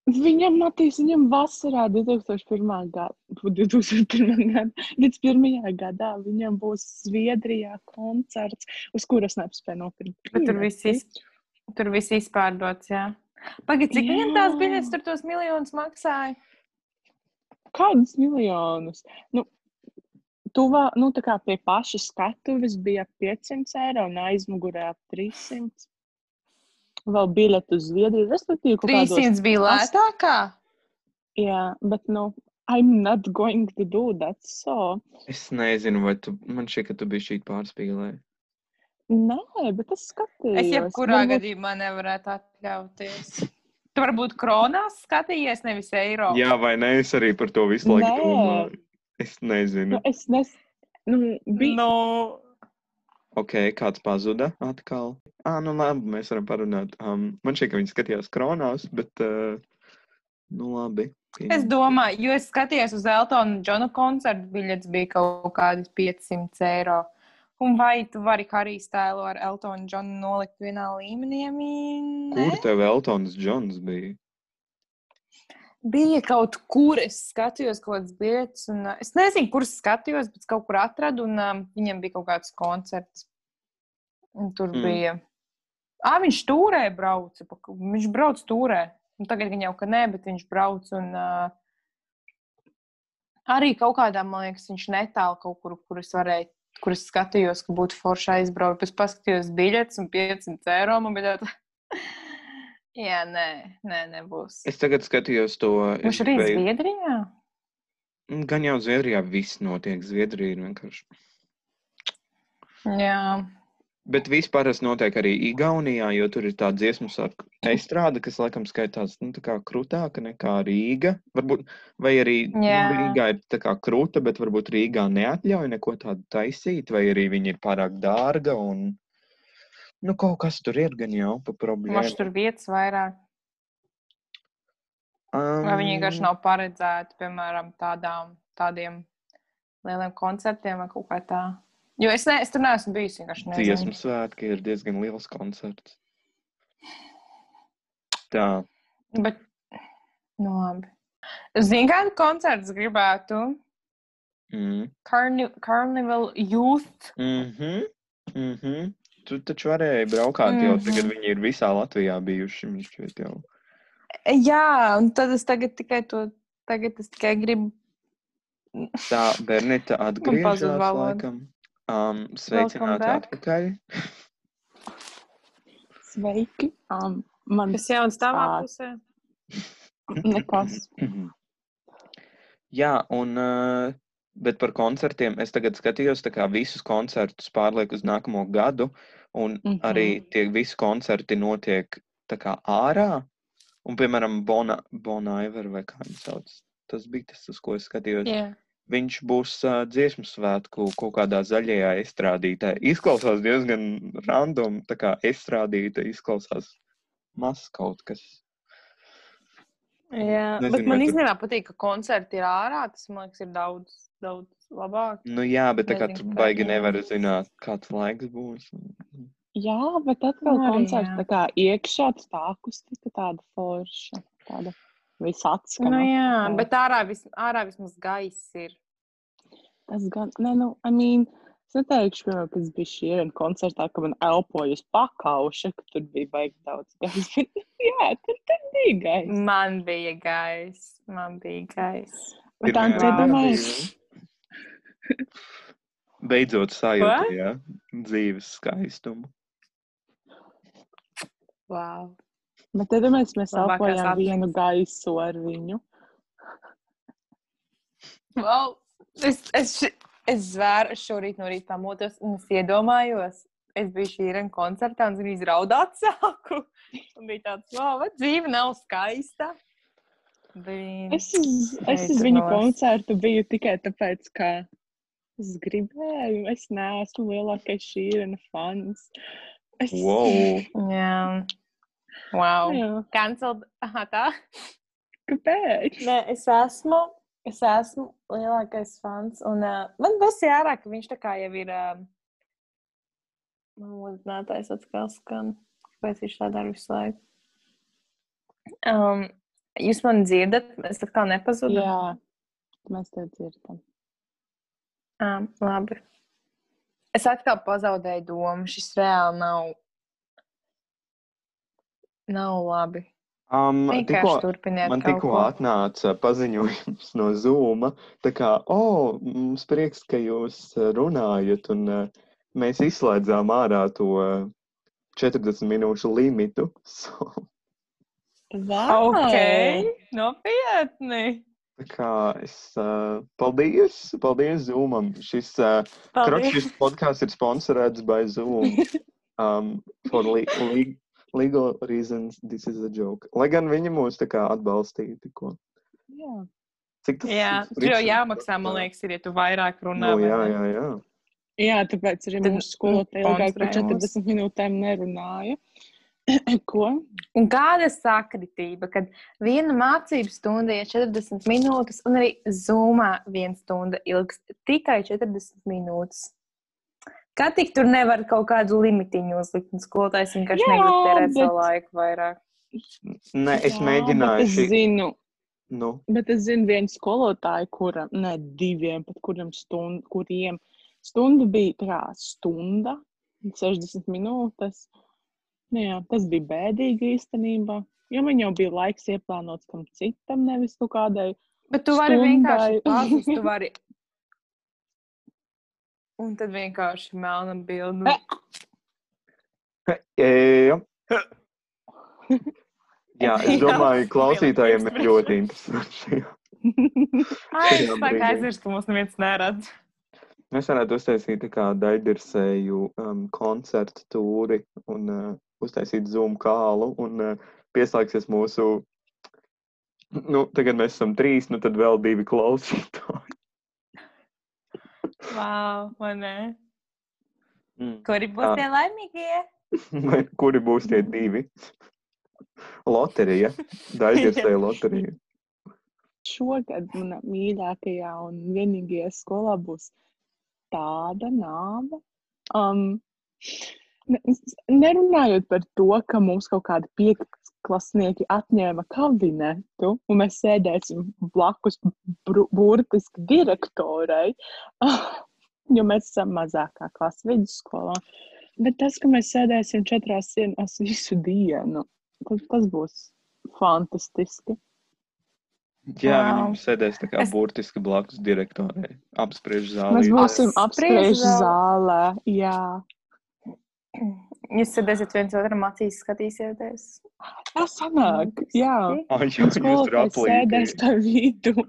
[SPEAKER 2] Viņam, Matīs, viņam vasarā 2001. gada, 2001. gada, 21. gadā viņam būs Zviedrijā koncerts, uz kuras nespēja nopirkt.
[SPEAKER 1] Bet tur viss
[SPEAKER 2] biļeti.
[SPEAKER 1] iz- tur viss izpārdots, jā. Pagaid, cik viņam tās
[SPEAKER 2] Jā.
[SPEAKER 1] biļetes tur tos miljonus maksāja?
[SPEAKER 2] Kādus miljonus? Nu, tuvā, nu, tā kā pie paša skatuves bija 500 eiro un aizmugurē ap 300. Vēl biļeti uz Zviedriju, respektīvi, kaut kādos
[SPEAKER 1] 300 bija
[SPEAKER 2] ast-
[SPEAKER 1] lētākā.
[SPEAKER 2] Yeah, but no, nu, I'm not going to do that. So,
[SPEAKER 3] Es nezinu, vai tu, man šķiet, ka tu biji šī pārspīlē.
[SPEAKER 2] nē, bet es skatījos.
[SPEAKER 1] Es jebkurā
[SPEAKER 2] varbūt-
[SPEAKER 1] gadījumā nevarētu atļauties. Tu varbūt kronās skatījies, nevis eiro.
[SPEAKER 3] Jā, vai ne? Es arī par to visu laiku
[SPEAKER 2] Nē.
[SPEAKER 3] domāju. Es nezinu.
[SPEAKER 2] Nu, es nes... Nu, bija... No.
[SPEAKER 1] no...
[SPEAKER 3] Ok, kāds pazuda atkal. Ah, nu labi, mēs varam parunāt. Um, man šķiet, ka viņi skatījās kronās, bet. Uh, nu labi.
[SPEAKER 1] Es
[SPEAKER 3] pieņem.
[SPEAKER 1] domāju, jo es skatījos uz Eltona Džona koncertu, biļets bija kaut kādi 500 eiro. Un vai tu vari arī stēlu ar Eltonu Džonu nolikt vienā līmenī? I mean, nē?
[SPEAKER 3] Kur tev Eltons Džons bija?
[SPEAKER 1] Bija kaut kur, es skatījos kaut kādas biļetes, un uh, es nezinu, kuras skatījos, bet kaut kur atradu, un um, viņam bija kaut kāds koncerts. Un tur
[SPEAKER 3] Mm.
[SPEAKER 1] mm. bija. Ah, viņš turē brauca, pa kaut- viņš brauc turē. Un tagad gan jau ka nē, bet viņš brauc. Un, uh, arī kaut kādā, man liekas, viņš netālu kaut kur, kur es varēju. Kur es skatījos, ka būtu forši aizbraukt. Pēc tam paskatījos biļetes un 500 eiro. Man bija tāds, <laughs> jā, nē, nē, nebūs.
[SPEAKER 3] Es tagad skatījos to.
[SPEAKER 1] Viņš
[SPEAKER 3] es
[SPEAKER 1] arī
[SPEAKER 3] gribēju-
[SPEAKER 1] Zviedrijā?
[SPEAKER 3] Nu, Gan jau Zviedrijā viss notiek. Zviedrija ir vienkārši.
[SPEAKER 1] Jā,
[SPEAKER 3] Bet vispār tas notiek arī Igaunijā, jo tur ir tā dziesmu saka, estrāde, kas laikam skaitās nu, tā kā krūtāka nekā Rīga. Varbūt, vai arī nu,
[SPEAKER 1] Jā.
[SPEAKER 3] Rīgā ir tā kā krūta, bet varbūt Rīgā neatļauj neko tādu taisīt, vai arī viņi ir pārāk dārga. Un, nu, kaut kas tur ir gan jau pa
[SPEAKER 1] maš
[SPEAKER 3] problēmu.
[SPEAKER 1] tur vietas vairāk.
[SPEAKER 3] Um,
[SPEAKER 1] Vai viņi vienkārši nav paredzēti, piemēram, tādām, tādiem lieliem koncertiem vai kaut kā tā. Jo es, ne, es tur neesmu bijis. vienkārši nezinu.
[SPEAKER 3] Dziesmu svētki ir diezgan liels koncerts. Tā.
[SPEAKER 1] Bet, nu, labi. Zini, kādu koncertu gribētu?
[SPEAKER 3] Mm.
[SPEAKER 1] Carni Carnival Youth.
[SPEAKER 3] Mhm. Mhm. Tu taču varēji braukāt jau tagad,
[SPEAKER 1] Mhm.
[SPEAKER 3] viņi ir visā Latvijā bijuši. man šķiet, jau.
[SPEAKER 1] Jā, un tad es tagad tikai to, tagad es tikai gribu.
[SPEAKER 3] Tā Bernita atgriežas
[SPEAKER 1] pazuda valoda.
[SPEAKER 3] laikam. Um, sveicināti
[SPEAKER 1] back.
[SPEAKER 3] atpakaļ.
[SPEAKER 1] Nu.
[SPEAKER 2] Sveiki. Um,
[SPEAKER 1] <laughs>
[SPEAKER 2] man
[SPEAKER 1] Kas jauns tavā
[SPEAKER 2] Ā.
[SPEAKER 1] pusē?
[SPEAKER 2] nekas.
[SPEAKER 3] Jā, un uh, bet par koncertiem es tagad skatījos tā kā visus koncertus pārlieku uz nākamo gadu, un
[SPEAKER 2] Mhm.
[SPEAKER 3] arī tie visi koncerti notiek tā kā ārā. Un, piemēram, Bona, Bona Iver vai kā viņš sauc. Tas bija tas, uz ko es skatījos.
[SPEAKER 1] Jā.
[SPEAKER 3] Viņš būs uh, dziesmu svētku kaut kādā zaļajā izstrādītē. Izklausās diezgan random, tā kā izstrādīta izklausās mazs kaut kas.
[SPEAKER 1] Jā,
[SPEAKER 3] Nezinu,
[SPEAKER 1] bet
[SPEAKER 3] vai
[SPEAKER 1] man
[SPEAKER 3] tu-
[SPEAKER 1] īstenībā patīk, ka koncerti ir ārā. Tas man liekas, ir daudz, daudz labāk.
[SPEAKER 3] Nu, jā, bet tā kā
[SPEAKER 1] Nezinu,
[SPEAKER 3] tu
[SPEAKER 1] kā
[SPEAKER 3] baigi
[SPEAKER 1] viņiem.
[SPEAKER 3] nevari zināt, kāds laiks būs. un-
[SPEAKER 2] Jā, bet
[SPEAKER 1] Nu
[SPEAKER 2] atkal
[SPEAKER 1] arī, jā.
[SPEAKER 2] koncerts tā kā iekšā tas tā akustika tāda forša, tāda visatskana.
[SPEAKER 1] Nu, jā,
[SPEAKER 2] tā.
[SPEAKER 1] bet ārā, vis, ārā vismaz gaiss ir.
[SPEAKER 2] Tas gan, nē, nu, I mean, es neteikšu, piemēram, pēc bija šī ir koncertā, ka man elpoja uz pakauša, ka tur bija baigi daudz gaisa. <laughs> Bet, jā, tur, tur bija gaisa.
[SPEAKER 1] Man bija gaiss. Man bija gaiss.
[SPEAKER 2] Bet tā,
[SPEAKER 1] Wow.
[SPEAKER 2] tā,
[SPEAKER 3] Pirmajā
[SPEAKER 2] tā,
[SPEAKER 3] dienā
[SPEAKER 2] mēs.
[SPEAKER 3] bija- <laughs> Beidzot
[SPEAKER 1] Ko?
[SPEAKER 3] sajūta, jā, dzīves skaistumu.
[SPEAKER 1] Wow.
[SPEAKER 2] Bet tad mēs, mēs
[SPEAKER 1] Labākās
[SPEAKER 2] elpojām
[SPEAKER 1] atmiņas.
[SPEAKER 2] vienu gaisu ar viņu.
[SPEAKER 1] Wow. Es, es, ši- es zvēru šorīt no rīta pamodos un es iedomājos. Es biju šī īrena koncertā un zinu, izraudāt sāku. <laughs> Un bija tāds, wow, vai dzīve nav skaista. Brīn.
[SPEAKER 2] Es uz, es uz
[SPEAKER 1] Beidzot.
[SPEAKER 2] viņu koncertu biju tikai tāpēc, ka es gribēju. Es neesmu lielākais šī īrena fans. Es,
[SPEAKER 3] Wow!
[SPEAKER 1] Jā. Wow.
[SPEAKER 2] Jā,
[SPEAKER 1] Cancelled. Aha, tā.
[SPEAKER 2] kāpēc?
[SPEAKER 1] Nē, es esmu, es esmu lielākais fans. Un, uh, man tas ir ārā, ka viņš tā kā jau ir. Uh, man uzmanītājs atkal skan, kāpēc viņš tā dara visu laiku. Um, jūs mani dzirdat? Es atkal nepazudu.
[SPEAKER 2] Jā, mēs te dzirdam.
[SPEAKER 1] Um, labi. Es atkal pazaudēju domu. Šis reāli nav. Nav labi.
[SPEAKER 3] Um,
[SPEAKER 1] Vienkārši
[SPEAKER 3] tikko-
[SPEAKER 1] turpiniet.
[SPEAKER 3] Man
[SPEAKER 1] kaut
[SPEAKER 3] tikko
[SPEAKER 1] ko.
[SPEAKER 3] atnāca paziņojums no Zoom. Tā kā, oh, mums prieks, ka jūs eh, runājat, un eh, mēs izslēdzām ārā to eh, 40 minūšu limitu. <laughs> So,
[SPEAKER 1] Ok, nopietni.
[SPEAKER 3] tā kā es eh, paldies, paldies Zoomam. Šis eh, kroks, šis podkāsts ir sponsorēts by
[SPEAKER 1] <laughs>
[SPEAKER 3] Zoom. Um, for le le legal reasons, this is a joke. Lai gan viņi mūs tā kā atbalstīja tikko.
[SPEAKER 2] Jā.
[SPEAKER 3] Cik tas
[SPEAKER 1] Jā, tur jau
[SPEAKER 3] prieks-
[SPEAKER 1] jāmaksā, man liekas, ir, ja tu vairāk runā.
[SPEAKER 3] Nu, jā,
[SPEAKER 1] vai ne?
[SPEAKER 3] jā, jā.
[SPEAKER 2] Jā, tāpēc arī
[SPEAKER 1] Tad
[SPEAKER 2] mūsu skolotāja
[SPEAKER 3] mm,
[SPEAKER 2] ilgāk par
[SPEAKER 1] koncentrējos.
[SPEAKER 2] 40 minūtēm nerunāja. <clears throat> Ko?
[SPEAKER 1] Un kāda sakritība, kad viena mācību stunda ir 40 minūtes, un arī zumā viena stunda ilgs tikai 40 minūtes. Kā tik tur nevar kaut kādu limitiņu uzlikt, un skolotājs vienkārši
[SPEAKER 2] Jā,
[SPEAKER 1] negrib tērēt savu
[SPEAKER 2] bet-
[SPEAKER 1] laiku vairāk.
[SPEAKER 3] Nē, es
[SPEAKER 2] Jā,
[SPEAKER 3] mēģināju.
[SPEAKER 2] Bet es
[SPEAKER 3] Šī...
[SPEAKER 2] zinu,
[SPEAKER 3] Nu,
[SPEAKER 2] bet es zinu vienu skolotāju, kuram, ne diviem, bet kuram stund, kuriem stunda bija tā kā stunda, un 60 minūtes. Nu, jā, tas bija bēdīgi īstenībā. Jo man jau bija laiks ieplānots kam citam, nevis kaut kādai.
[SPEAKER 1] Bet tu vari vienkārši
[SPEAKER 2] Stundai.
[SPEAKER 1] pazust, tu vari. <laughs> Un tad vienkārši melnam bildu.
[SPEAKER 3] jā, e, jā, es
[SPEAKER 2] <laughs>
[SPEAKER 1] Jā,
[SPEAKER 3] domāju, klausītājiem ir
[SPEAKER 1] pirkstu
[SPEAKER 3] ļoti interesanti.
[SPEAKER 1] Ai, es
[SPEAKER 3] Jā,
[SPEAKER 1] tā kā
[SPEAKER 3] brīdī.
[SPEAKER 1] aizmirstu, ka mūs neviens neredz.
[SPEAKER 3] Mēs varētu uztaisīt tā kā daļdirsēju um, koncertu tūri un uh, uztaisīt zoom kālu un uh, pieslēgsies mūsu. Nu, tagad mēs esam trīs, nu tad vēl divi klausītāji.
[SPEAKER 1] Wow, vai ne?
[SPEAKER 3] Mm.
[SPEAKER 1] Kuri
[SPEAKER 3] Jā.
[SPEAKER 1] būs tie
[SPEAKER 3] <clears throat>
[SPEAKER 1] laimīgie?
[SPEAKER 3] Vai Kuri būs tie divi? Loterija. Daļdirsēja loterija.
[SPEAKER 2] Šogad manā mīļākajā un vienīgajā skolā būs tāda nāve. Um, ne- s- nerunājot par to, ka mums kaut kādi piektklasnieki atņēma kabinetu, un mēs sēdēsim blakus bru- burtiski direktorai, <laughs> jo mēs esam mazākā klasa vidusskolā. Bet tas, ka mēs sēdēsim četrās sienās visu dienu, tas, tas būs fantastiski.
[SPEAKER 3] Jā,
[SPEAKER 1] Wow.
[SPEAKER 3] viņi sēdēs tā kā
[SPEAKER 1] Es-
[SPEAKER 3] burtiski blakus direktorai. Apspriež
[SPEAKER 2] Mēs
[SPEAKER 3] zāli. <laughs>
[SPEAKER 2] būsim
[SPEAKER 1] Apspriež
[SPEAKER 2] apspriež zālē. Jā,
[SPEAKER 1] Jūs sēdēsiet viens otram acīs, skatīsieties.
[SPEAKER 2] tā sanāk. Ah, Jā,
[SPEAKER 3] Ai, jā, jūs tur
[SPEAKER 2] skolotājs sēdēs
[SPEAKER 3] aplīkojat.
[SPEAKER 2] pa vidu.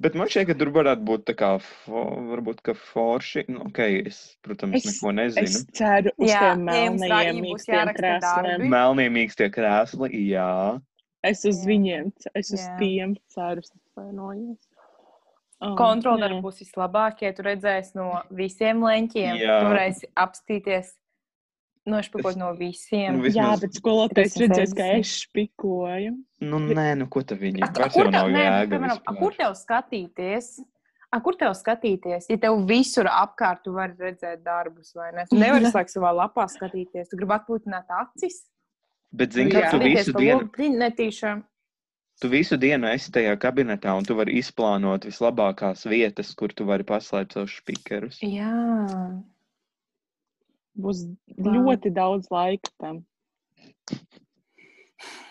[SPEAKER 3] Bet man šķiet, ka tur varētu būt tā kā, fo, varbūt, ka forši. Nu, ok, es, protams,
[SPEAKER 2] Es-
[SPEAKER 3] neko
[SPEAKER 2] Es
[SPEAKER 3] nezinu.
[SPEAKER 2] ceru uz
[SPEAKER 1] Jā,
[SPEAKER 2] tiem
[SPEAKER 1] ja jums tā- ja
[SPEAKER 2] melnajiem
[SPEAKER 1] būs
[SPEAKER 2] mīkstiem
[SPEAKER 1] jāraksta
[SPEAKER 2] krēsliem.
[SPEAKER 1] darbi.
[SPEAKER 3] Melnie mīkstie krēsli, jā.
[SPEAKER 2] Es uz
[SPEAKER 1] Jā.
[SPEAKER 2] viņiem, ce- es uz
[SPEAKER 1] Jā.
[SPEAKER 2] tiem ceru, es atvainojos. Um,
[SPEAKER 1] Kontrolēri
[SPEAKER 2] jā.
[SPEAKER 1] būs vislabākie. Tu redzēsi no visiem leņķiem.
[SPEAKER 3] Jā.
[SPEAKER 1] Varēsi apstīties nošpakot no visiem.
[SPEAKER 3] Nu,
[SPEAKER 1] Vi...
[SPEAKER 3] vi-
[SPEAKER 2] Jā,
[SPEAKER 3] Vismaz-
[SPEAKER 2] bet skolotājs
[SPEAKER 1] Tas ir
[SPEAKER 2] redzēs, ka
[SPEAKER 1] sexy.
[SPEAKER 2] es špikoju.
[SPEAKER 3] Nu, nē, nu ko tad viņi
[SPEAKER 1] A,
[SPEAKER 3] Vairs
[SPEAKER 1] kur,
[SPEAKER 3] jau nav
[SPEAKER 1] tev, nē, bet,
[SPEAKER 3] jēga
[SPEAKER 1] piemēram, a,
[SPEAKER 3] vispār.
[SPEAKER 1] kur tev skatīties? A, kur tev skatīties? Ja tev visur apkārt tu vari redzēt darbus, vai ne? Tu nevari
[SPEAKER 2] Jā.
[SPEAKER 1] slēgt savā lapā skatīties. Tu gribi atpūtināt acis.
[SPEAKER 3] Bet,
[SPEAKER 1] Nu
[SPEAKER 3] zini,
[SPEAKER 2] Jā.
[SPEAKER 3] kā tu visu dienu,
[SPEAKER 1] Netīšām.
[SPEAKER 3] Tu visu dienu esi tajā kabinetā, un tu vari izplānot vislabākās vietas, kur tu vari paslēpt savus spīkerus.
[SPEAKER 1] Jā.
[SPEAKER 2] Būs
[SPEAKER 1] Vau.
[SPEAKER 2] ļoti daudz laika tam.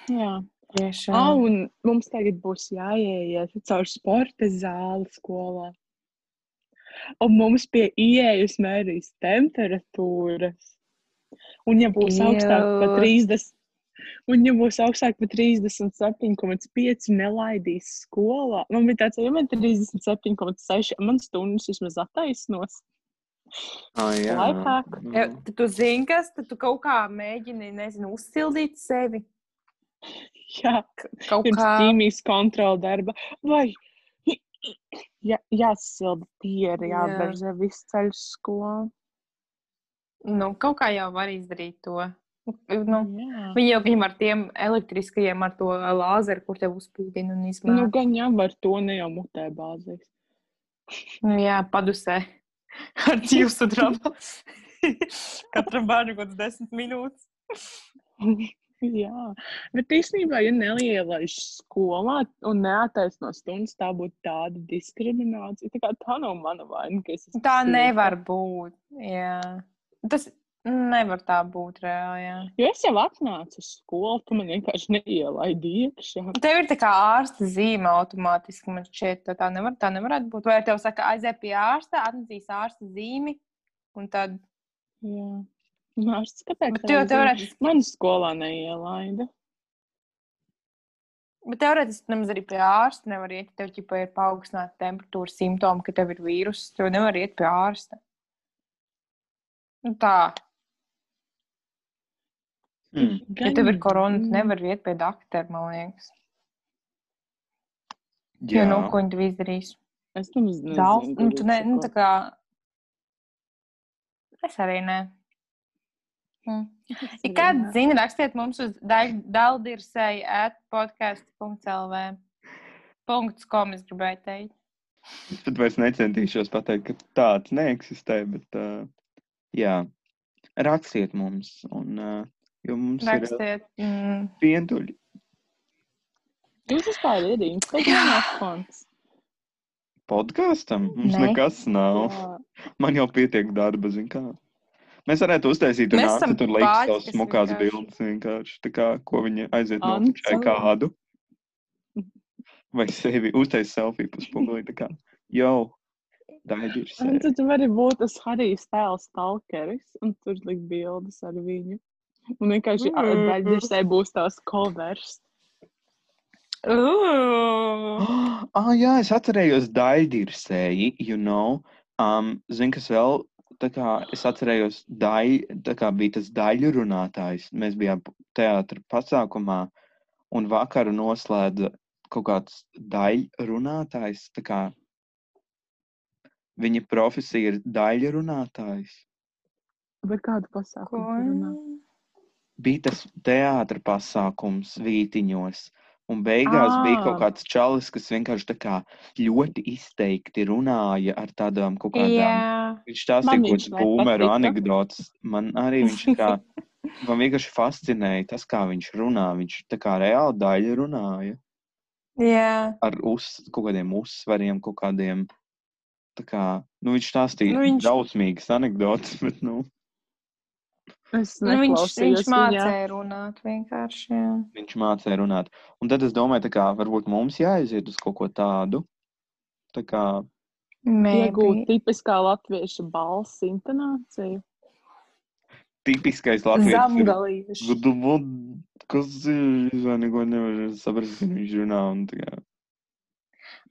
[SPEAKER 2] Jā.
[SPEAKER 1] Tiešām.
[SPEAKER 2] Ah, un mums tagad būs jāieiet caur sporta zāli skolā. Un mums pie ieejas mērīs temperatūras. Un ja būs augstāk par
[SPEAKER 1] Jū.
[SPEAKER 2] 30, un ja būs augstāk par 37,5, nelaidīs skolā. Man bija tāds, ja man ir 37,6, man stundas vismaz attaisnos.
[SPEAKER 3] Ah, jā,
[SPEAKER 2] Laipāk.
[SPEAKER 1] Ja, tad tu zini, kas tad tu kaut kā mēģini, nezinu, uzsildīt sevi.
[SPEAKER 2] <laughs> Jā,
[SPEAKER 1] Kaut
[SPEAKER 2] pirms
[SPEAKER 1] kā
[SPEAKER 2] ķīmijas kontrola darba. Vai <clears throat> jā, jāsilda pieri,
[SPEAKER 1] Jā.
[SPEAKER 2] jāberzē viss ceļš skolā.
[SPEAKER 1] Nu, kaut kā jau var izdarīt to. Nu,
[SPEAKER 2] Jā.
[SPEAKER 1] viņi jau viņam ar tiem elektriskajiem, ar to lāzeru, kur tev uzspīdina un
[SPEAKER 2] Nu,
[SPEAKER 1] izmanto.
[SPEAKER 2] gan jau var to ne jau mutē bāzēs.
[SPEAKER 1] Nu, jā, padusē. <laughs> Ar jūsu drāmu. <laughs> Katram bērnam kaut kāds desmit minūtes.
[SPEAKER 2] Jā, bet īstenībā, ja neielaiž skolā un neataisno stundas, tā būtu tāda diskriminācija. Tā, kā tā nav mana vaina, ka es esmu
[SPEAKER 1] Tā
[SPEAKER 2] sīva.
[SPEAKER 1] nevar būt. Jā. Tas nevar tā būt reāli. Jā.
[SPEAKER 2] Jo es jau atnācu uz skolu, tu man vienkārši neielaidi iekšā.
[SPEAKER 1] Tev ir tā kā ārsta zīme automātiski. Man šķiet, tā, tā, nevar, tā nevarētu būt. Vai tev saka, aizej pie ārsta, atnesīs ārsta zīmi un tad.
[SPEAKER 2] Jā, nē,
[SPEAKER 1] Bet
[SPEAKER 2] skatās.
[SPEAKER 1] tu jau teorētiski
[SPEAKER 2] Man skolā neielaida. Bet
[SPEAKER 1] Bet teorētiski nemaz arī pie ārsta nevar iet. Tev jau ir paaugstināta temperatūra, simptomi, ka tev ir vīruss. Tev nevar iet pie ārsta. Nu, tā,
[SPEAKER 3] Mm.
[SPEAKER 1] ja tev ir korona,
[SPEAKER 2] nu,
[SPEAKER 1] tad nevar iet pie doktora, man liekas. Jā,
[SPEAKER 3] Jā,
[SPEAKER 1] nu, ko viņi tev izdarīs?
[SPEAKER 2] Es tam nezinu.
[SPEAKER 1] Daudz, nu, tu ne,
[SPEAKER 2] godīgi
[SPEAKER 1] nu,
[SPEAKER 2] sakot.
[SPEAKER 1] tā kā. Es arī nē. Mm.
[SPEAKER 2] Es
[SPEAKER 1] Ja
[SPEAKER 2] arī
[SPEAKER 1] kāds
[SPEAKER 2] nē.
[SPEAKER 1] zina, rakstiet mums uz daldirsēju at podcast.lv. Punkts, ko mēs gribēju teikt.
[SPEAKER 3] tad vairs necentīšos pateikt, ka tāds neeksistē, bet uh, jā, rakstiet mums, un, uh, jo mums Rakstiet.
[SPEAKER 1] Rakstiet. Mm.
[SPEAKER 3] ir vientuļi.
[SPEAKER 2] Jūs vispār ir Instagram konts.
[SPEAKER 3] Podkāstam mums
[SPEAKER 1] Nē.
[SPEAKER 3] ne. nekas nav. Jā.
[SPEAKER 2] Jā.
[SPEAKER 3] Man jau pietiek darba, zin kā. Mēs varētu uztaisīt, un
[SPEAKER 1] Mēs
[SPEAKER 3] nāca
[SPEAKER 1] esam
[SPEAKER 3] tur liekas
[SPEAKER 1] pāķis,
[SPEAKER 3] tavas
[SPEAKER 1] kas
[SPEAKER 3] smukās
[SPEAKER 1] vienkārši-
[SPEAKER 3] bildes vienkārši, tā kā, ko viņi aiziet no
[SPEAKER 2] Ants.
[SPEAKER 3] šai kādu. Vai sevi uztais selfiju puspogulī, tā kā, jau, daidirs
[SPEAKER 2] Un
[SPEAKER 3] sevi.
[SPEAKER 2] tad tu vari būt tas Harijs tēls stalkeris, un tur likt bildes ar viņu. Un vienkārši
[SPEAKER 1] Mm.
[SPEAKER 2] daļģirsē būs tās covers.
[SPEAKER 1] <gasps> Ooh.
[SPEAKER 3] Ah, jā, es atcerējos daidirsēji, you know. Um, zin, kas vēl, tā kā, es atcerējos, dai, tā kā bija tas daļu runātājs. Mēs bijām teātra pasākumā, un vakaru noslēdza kaut kāds daļu runātājs. Tā kā viņa profesija ir daļu runātājs.
[SPEAKER 2] Bet kādu pasākumu? tu runā?
[SPEAKER 3] Bija tas teātra pasākums Vītiņos. Un beigās ah. bija
[SPEAKER 2] Ā.
[SPEAKER 3] kaut kāds čalis, kas vienkārši tā kā ļoti izteikti runāja ar tādām kaut kādām.
[SPEAKER 1] Jā,
[SPEAKER 3] Viņš stāstīja
[SPEAKER 2] Man
[SPEAKER 3] kaut
[SPEAKER 2] viņš
[SPEAKER 3] kādas boomeru
[SPEAKER 2] nepatika.
[SPEAKER 3] anekdotas. Man arī viņš tā kā, man vienkārši fascinēja tas, kā viņš runā. Viņš tā kā reāli daļa runāja
[SPEAKER 1] jā.
[SPEAKER 3] ar uz, kaut kādiem uzsvariem, kaut kādiem. tā Kā, nu, viņš stāstīja
[SPEAKER 1] Nu,
[SPEAKER 3] nu,
[SPEAKER 1] viņš-
[SPEAKER 3] viņš... drausmīgas anekdotas, bet nu,
[SPEAKER 2] Es
[SPEAKER 1] Nu, viņš,
[SPEAKER 2] neklausījos
[SPEAKER 1] viņš
[SPEAKER 2] viņā.
[SPEAKER 1] mācīja runāt vienkārši. Jā.
[SPEAKER 3] viņš mācīja runāt. Un tad es domāju, tā kā varbūt mums jāaiziet uz kaut ko tādu. Tā kā,
[SPEAKER 1] Mēģināt.
[SPEAKER 2] Iegūt tipiskā latvieša balss intonāciju.
[SPEAKER 3] tipiskais latviešu
[SPEAKER 1] Zemgalīši.
[SPEAKER 3] Gud- gud- Kas ir? Es neko nevaru saprast, kad viņš runā. un tā kā-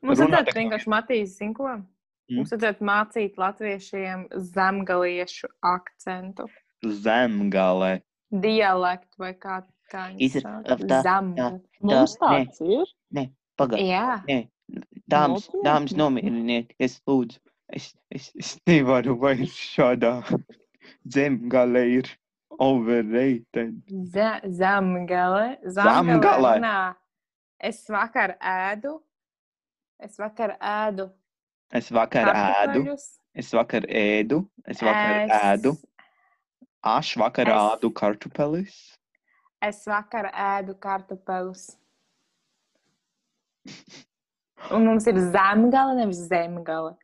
[SPEAKER 1] Mums
[SPEAKER 3] Runā
[SPEAKER 1] vajadzētu
[SPEAKER 3] tā kā-
[SPEAKER 1] vienkārši matīt, zin ko?
[SPEAKER 3] Mm.
[SPEAKER 1] Mums vajadzētu mācīt latviešiem zemgaliešu akcentu,
[SPEAKER 3] Zemgale.
[SPEAKER 1] dialektu vai kā tā.
[SPEAKER 3] Izra- tā,
[SPEAKER 1] Zemgaliešu.
[SPEAKER 2] Mums
[SPEAKER 3] nē.
[SPEAKER 2] tāds ir.
[SPEAKER 3] Pagaidiet,
[SPEAKER 1] Jā.
[SPEAKER 3] nē, dāmas,
[SPEAKER 2] Nopietni?
[SPEAKER 3] dāmas nomierinieties, lūdzu. Es, es, es nevaru vairs šādā zemgālē ir. Overrated.
[SPEAKER 1] Ze- Zemgale.
[SPEAKER 3] Zemgale.
[SPEAKER 1] Zemgale runā. Es vakar ēdu. Es vakar ēdu.
[SPEAKER 3] Es vakar ēdu.
[SPEAKER 1] kartupeļus.
[SPEAKER 3] Es vakar ēdu. Es vakar
[SPEAKER 1] Es-
[SPEAKER 3] ēdu. Aš vakar
[SPEAKER 1] Es-
[SPEAKER 3] ēdu kartupeļus.
[SPEAKER 1] Es vakar ēdu
[SPEAKER 3] <laughs>
[SPEAKER 1] kartupeļus. Un mums ir zemgale, nevis zemgale.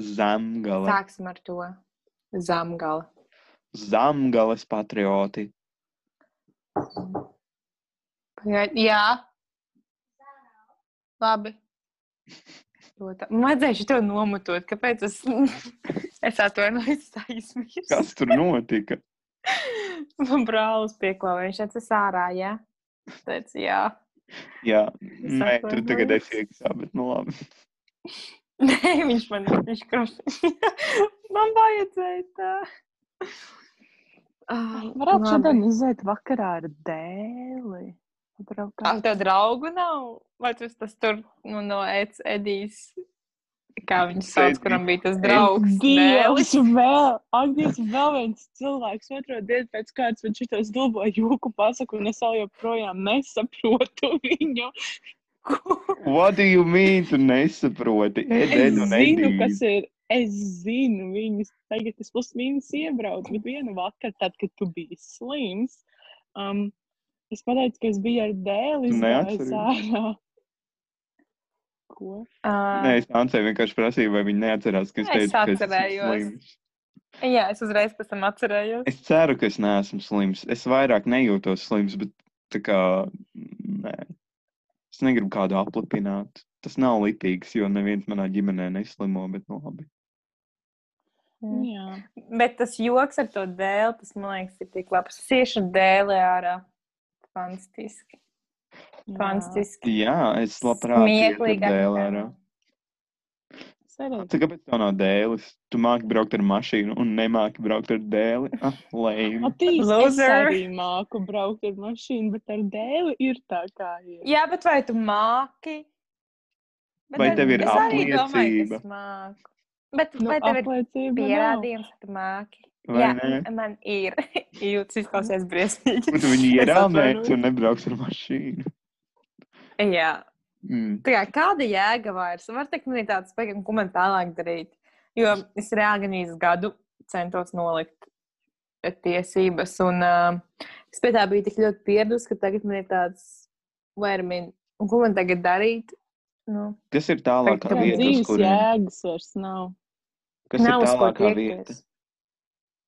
[SPEAKER 3] Zemgale.
[SPEAKER 1] Sāksim ar to. Zemgale.
[SPEAKER 3] Zemgales patrioti.
[SPEAKER 1] Pagaid- Jā. Labi. To tā- Man vajadzēja to nomutot. Kāpēc es, <laughs> es atvainojos, tā izsmējos?
[SPEAKER 3] Kas tur notika?
[SPEAKER 1] Man brālis pieklāvēja. Viņš teica, es ārā, jā. Es teicu, jā. <laughs>
[SPEAKER 3] Jā, nē,
[SPEAKER 2] nu,
[SPEAKER 3] tu tagad
[SPEAKER 1] atvainojos.
[SPEAKER 3] esi iekšā, bet nu labi.
[SPEAKER 1] Nē, viņš man viņš kroši. <laughs> man vajadzēja tā. Ah,
[SPEAKER 2] Varētu
[SPEAKER 1] labi.
[SPEAKER 2] šodien iziet vakarā ar dēli.
[SPEAKER 1] Kā
[SPEAKER 2] Pabraukāt.
[SPEAKER 1] tev draugu nav? Vai tas tas tur nu, no Eds, Edijas? Kā viņš sauc,
[SPEAKER 3] Edijs.
[SPEAKER 1] kuram bija tas draugs? Dēlis.
[SPEAKER 2] Dievs, vēl, ak, Dievs, vēl viens cilvēks. Otru dienu pēc kārtas viņš to zdulbo jūku pasaku, un es vēl joprojām nesaprotu viņu.
[SPEAKER 3] What do you mean? Tu nesaproti. Ed,
[SPEAKER 2] Es
[SPEAKER 3] ed, un
[SPEAKER 2] zinu,
[SPEAKER 3] Edijs.
[SPEAKER 2] kas ir. Es zinu, viņas tagad es plus mīnus iebraucu, bet vienu vakaru, tad, kad tu biji slims, um, es pateicu, ka es biju ar dēli
[SPEAKER 3] Tu
[SPEAKER 2] izgājis
[SPEAKER 3] neatceries?
[SPEAKER 2] ārā. Ko?
[SPEAKER 3] Nē,
[SPEAKER 1] Ā,
[SPEAKER 3] es Ancei vienkārši prasīju, vai viņa neatcerās, ka es
[SPEAKER 1] Es
[SPEAKER 3] teicu, ka es esmu
[SPEAKER 1] atcerējos.
[SPEAKER 3] slims.
[SPEAKER 1] Jā, es uzreiz pēc tam atcerējos.
[SPEAKER 3] Es ceru, ka es neesmu slims. Es vairāk nejūtos slims, bet tā kā. Nē. Es negribu kādu aplipināt. Tas nav lipīgs, jo neviens manā ģimenē neslimo, bet nu labi.
[SPEAKER 1] Mm.
[SPEAKER 2] Jā.
[SPEAKER 1] Bet tas joks ar to dēli, tas man liekas, ir tik labs. Siešu dēli ārā. Fantastiski. Fantastiski.
[SPEAKER 3] Jā, es labprāt. ietu ar
[SPEAKER 1] Smieklīgi.
[SPEAKER 3] dēli ārā.
[SPEAKER 2] Sarēt.
[SPEAKER 3] Tu Ah, kāpēc tev nav dēlis? Tu māki braukt ar mašīnu un nemāki braukt ar dēli. Ah, lame.
[SPEAKER 2] Atīs, es
[SPEAKER 1] Loser.
[SPEAKER 2] arī māku braukt ar mašīnu, bet ar dēli ir tā kā ir.
[SPEAKER 1] Jā, bet vai tu māki? Bet
[SPEAKER 3] Vai
[SPEAKER 1] ar-
[SPEAKER 3] tev ir
[SPEAKER 1] es arī domāju, ka
[SPEAKER 3] apliecība?
[SPEAKER 1] es māku. Bet
[SPEAKER 2] Nu,
[SPEAKER 1] vai tev ir
[SPEAKER 2] apliecība nav.
[SPEAKER 1] pierādījums, ka tu māki?
[SPEAKER 3] Vai
[SPEAKER 1] Jā,
[SPEAKER 3] ne?
[SPEAKER 1] man ir. <laughs> Jūs izklausāties
[SPEAKER 3] <laughs>
[SPEAKER 1] briesmīgi.
[SPEAKER 3] Un tu viņu
[SPEAKER 1] Es
[SPEAKER 3] ierāmēs
[SPEAKER 1] atvainojos.
[SPEAKER 3] un nebrauks ar mašīnu.
[SPEAKER 1] Jā,
[SPEAKER 3] Mm.
[SPEAKER 1] tā kā kāda jēga vairs? Var teikt, man ir tāds, pagaidām, ko man tālāk darīt. Jo es reāli gan īsu gadu centos nolikt e, tiesības, un uh, es pie tā biju tik ļoti pieradusi, ka tagad man ir tāds, vai ar mani, un ko man tagad darīt? Nu,
[SPEAKER 3] Kas ir tālākā
[SPEAKER 1] Tā
[SPEAKER 2] Tā
[SPEAKER 1] Tev
[SPEAKER 3] vieta, uz
[SPEAKER 2] dzīves
[SPEAKER 3] kurien?
[SPEAKER 2] jēgas vairs nav.
[SPEAKER 3] Kas ir
[SPEAKER 1] nav uz ko
[SPEAKER 3] tālākā
[SPEAKER 1] tiekties.
[SPEAKER 3] vieta?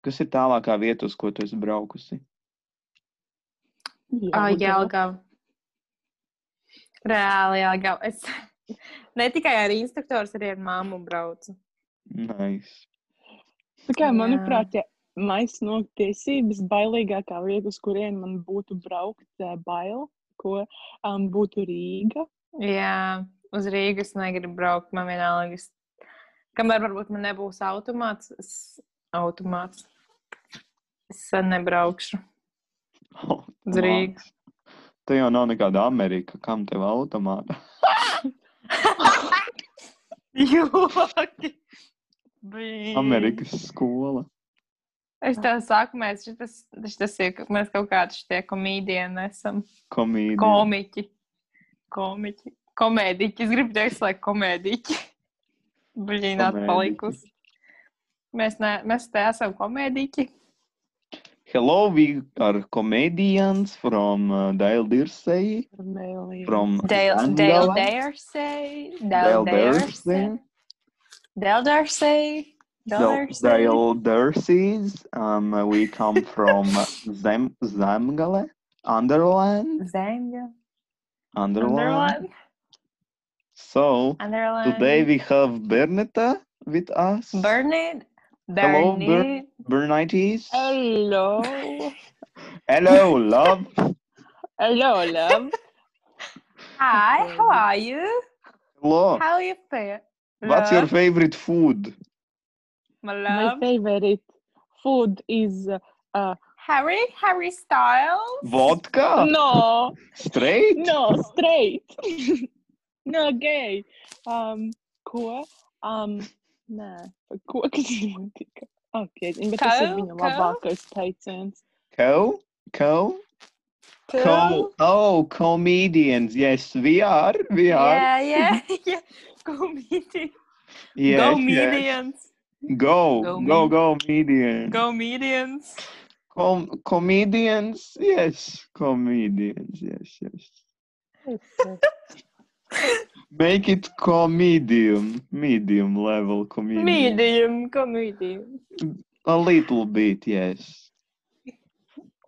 [SPEAKER 3] Kas ir tālākā vieta, uz ko tu esi braukusi?
[SPEAKER 1] Ah,
[SPEAKER 2] Jelgava.
[SPEAKER 1] Jelgava. Reāli Jelgava. Es <laughs> ne tikai ar instruktoru, arī ar māmu braucu.
[SPEAKER 3] Nice.
[SPEAKER 2] Tikai,
[SPEAKER 1] Jā.
[SPEAKER 2] manuprāt, ja maisa nok tiesības, bailīgākā vieta, uz kurien man būtu braukt, eh, bail, ko um, būtu Rīga.
[SPEAKER 1] Jā, uz Rīgas negribu braukt. Man vienalga, es- kamēr varbūt man nebūs automāts, es, automāts. es sen nebraukšu
[SPEAKER 3] Oh,
[SPEAKER 1] uz Rīgas.
[SPEAKER 3] Tā jau nav nekāda Amerika, kam tev automāta.
[SPEAKER 1] Joki! Bija.
[SPEAKER 3] Amerikas skola.
[SPEAKER 1] Es tev saku, mēs, šitas, šitas ir, mēs kaut kādi šie komīdieni esam.
[SPEAKER 3] Komīdija.
[SPEAKER 1] Komiķi. Komiķi. Komēdiķi. Es gribu teikt, lai komēdiķi. Blīnā
[SPEAKER 3] Komēdiķi.
[SPEAKER 1] palikusi. Mēs, ne, mēs te esam komēdiķi.
[SPEAKER 3] Hello, we are comedians from uh, Dale Dirsey.
[SPEAKER 2] Mēlī.
[SPEAKER 3] From
[SPEAKER 1] Dale
[SPEAKER 3] Zemgale.
[SPEAKER 1] Dale Dairsay. Dale
[SPEAKER 3] Dale
[SPEAKER 1] Dairsay.
[SPEAKER 3] Dirsey.
[SPEAKER 1] Dale Dairsay. Dale
[SPEAKER 3] Dale
[SPEAKER 1] Dairsay.
[SPEAKER 3] Dale Dirseys. Um, we come
[SPEAKER 1] <laughs>
[SPEAKER 3] from Zem Zemgale. Underland.
[SPEAKER 1] Zanga.
[SPEAKER 3] Underland.
[SPEAKER 1] Underland.
[SPEAKER 3] So
[SPEAKER 1] Underland.
[SPEAKER 3] today we have Bernetta with us.
[SPEAKER 1] Bernard.
[SPEAKER 3] Hello, Ber-
[SPEAKER 1] Bernard.
[SPEAKER 3] Bernites.
[SPEAKER 1] Oh.
[SPEAKER 2] Hello!
[SPEAKER 3] Hello, love.
[SPEAKER 2] Hello, love!
[SPEAKER 1] Hi, how are you?
[SPEAKER 3] Hello.
[SPEAKER 1] How you feel?
[SPEAKER 3] Oh. What's your favorite food?
[SPEAKER 1] My
[SPEAKER 2] My
[SPEAKER 1] love.
[SPEAKER 2] favorite food is... Uh,
[SPEAKER 1] Harry, Harry Styles.
[SPEAKER 3] Vodka?
[SPEAKER 2] no! <laughs>
[SPEAKER 3] Straight?
[SPEAKER 2] No, straight! <laughs> no, gay! Um, ko? Um, <laughs> nē, ko, kas notika? Ok, bet tas ir
[SPEAKER 1] Ko?
[SPEAKER 2] viņa
[SPEAKER 1] Ko?
[SPEAKER 2] labākais teiciens.
[SPEAKER 3] Co? Co? Co? Oh, comedians. Yes, we are. We are.
[SPEAKER 1] Yeah,
[SPEAKER 3] <laughs>
[SPEAKER 1] yeah, yeah. Comedians.
[SPEAKER 3] Yes,
[SPEAKER 1] Go
[SPEAKER 3] yes.
[SPEAKER 1] medians.
[SPEAKER 3] Go,
[SPEAKER 1] Go
[SPEAKER 3] go,
[SPEAKER 1] me-
[SPEAKER 3] go, median.
[SPEAKER 1] Go medians.
[SPEAKER 3] Com- comedians, yes, comedians, yes, yes. Make it comedium, medium level comedian.
[SPEAKER 1] Medium, comedian.
[SPEAKER 3] A little bit, yes.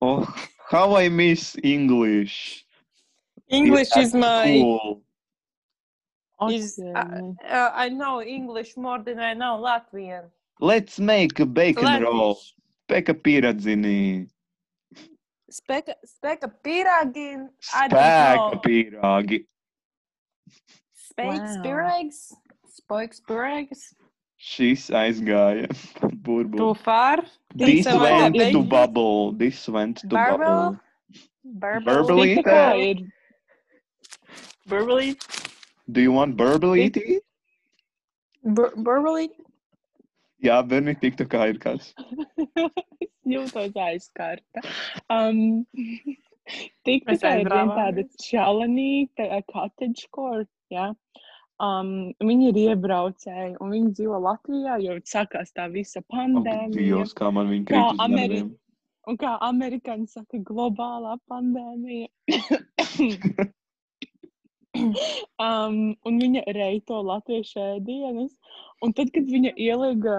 [SPEAKER 3] Oh, how I miss English.
[SPEAKER 1] <laughs> English is
[SPEAKER 3] It's
[SPEAKER 1] my.
[SPEAKER 3] Cool.
[SPEAKER 1] Is-
[SPEAKER 2] Oceāni.
[SPEAKER 1] Uh, I know English more than I know Latvian.
[SPEAKER 3] Let's make a bacon
[SPEAKER 1] Latvian.
[SPEAKER 3] roll. Peka piradzini.
[SPEAKER 1] Speka, speka pirāgin. I don't
[SPEAKER 3] Spēka
[SPEAKER 1] know.
[SPEAKER 3] pirāgi.
[SPEAKER 1] Spēks
[SPEAKER 2] Wow.
[SPEAKER 1] pirāgs. Spēks pirāgs.
[SPEAKER 3] Šis <laughs> aizgāja. Burbuļs.
[SPEAKER 1] Too far.
[SPEAKER 3] This
[SPEAKER 1] Pizza vai
[SPEAKER 3] went
[SPEAKER 1] labi?
[SPEAKER 3] to bubble. This went to
[SPEAKER 1] Barbel.
[SPEAKER 3] bubble. Verbally?
[SPEAKER 2] Tā kā ir
[SPEAKER 1] Burbly.
[SPEAKER 3] Do you want E burble
[SPEAKER 2] It-
[SPEAKER 3] it?
[SPEAKER 1] Burbly.
[SPEAKER 3] Jā, bērni, tik tā kā ir kāds.
[SPEAKER 2] jūtos aizskarta. Um, <laughs> tik
[SPEAKER 1] Mēs
[SPEAKER 2] tikai ir viena
[SPEAKER 1] aizrāvāmies.
[SPEAKER 2] tāda čalanīta, ā, cottage court, jā. Um, viņi ir iebraucēji, un viņi dzīvo Latvijā, jo sākās tā visa
[SPEAKER 3] Ak,
[SPEAKER 2] pandēmija.
[SPEAKER 3] Dievs, kā man viņa
[SPEAKER 2] Kā
[SPEAKER 3] krīt uz
[SPEAKER 2] Ameri-
[SPEAKER 3] nerviem.
[SPEAKER 2] Un kā amerikāņi saka, globālā pandēmija. um, un viņa reito latviešu ēdienas. Un tad, kad viņa ielika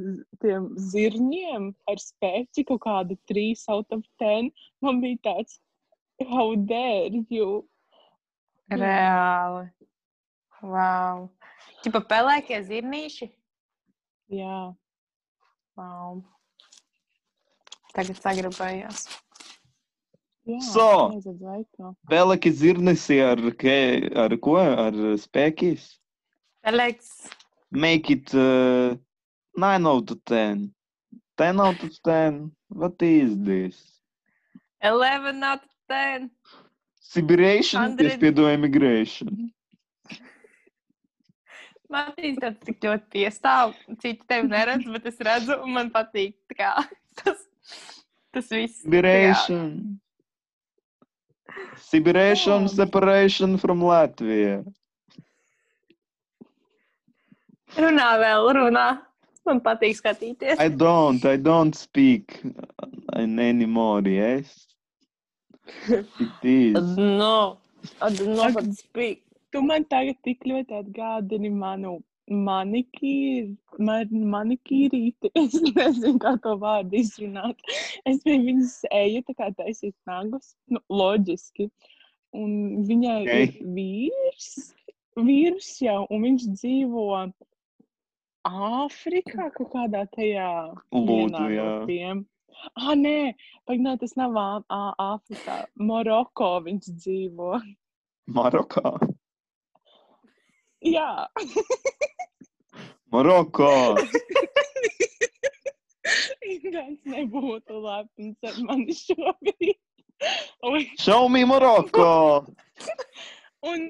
[SPEAKER 2] z- tiem zirņiem ar spēci kaut kādu 3 out of 10, man bija tāds, how dare you?
[SPEAKER 1] Reāli. Wow. Tipa pelēkie zirnīši.
[SPEAKER 2] Jā,
[SPEAKER 1] Wow. Tagad sagribējās.
[SPEAKER 2] jā.
[SPEAKER 3] So.
[SPEAKER 2] nezinu, vai kā.
[SPEAKER 3] Pelēki zirnesi ar, ke- ar ko? Ar spēkis?
[SPEAKER 1] Pelēks.
[SPEAKER 3] Make it uh, 9 out of 10. 10 out of 10. What is this?
[SPEAKER 1] 11 out of 10.
[SPEAKER 3] Sibiration? Es
[SPEAKER 1] Hundred-
[SPEAKER 3] piedodu emigration.
[SPEAKER 1] Matīs, tas tik ļoti piestāv. Citi tevi neredz, bet es redzu, un man patīk. Tā kā, tas, tas viss. tā kā-
[SPEAKER 3] Sibiration. Sibiration
[SPEAKER 2] Jā.
[SPEAKER 3] separation from Latvia.
[SPEAKER 1] Runā vēl, runā. Man patīk skatīties.
[SPEAKER 3] I don't. I don't speak in anymore. Yes, it is.
[SPEAKER 1] No, I do
[SPEAKER 2] not <laughs> how to
[SPEAKER 1] speak.
[SPEAKER 2] Tu man tagad tik ļoti atgādini manu manikīri, man, manikīrīti. <laughs> Es nezinu, kā to vārdu izrunāt. Es pie viņas eju, tā kā taisīt nagus, nu, loģiski. Un viņai okay.
[SPEAKER 3] Ok.
[SPEAKER 2] ir vīrs, vīrs jau, un viņš dzīvo Āfrikā kaut kādā tajā
[SPEAKER 3] Lūdzu,
[SPEAKER 2] vienā no
[SPEAKER 3] jā.
[SPEAKER 2] tiem. Ah, nē, pagaidām, tas nav Ā- Ā- Āfrikā. Maroko viņš dzīvo.
[SPEAKER 3] Marokā.
[SPEAKER 2] Jā. <laughs>
[SPEAKER 3] Marokā.
[SPEAKER 2] Ingūns nebūtu lepns ar mani šobrīd. Un,
[SPEAKER 3] Show me Morocco.
[SPEAKER 2] un,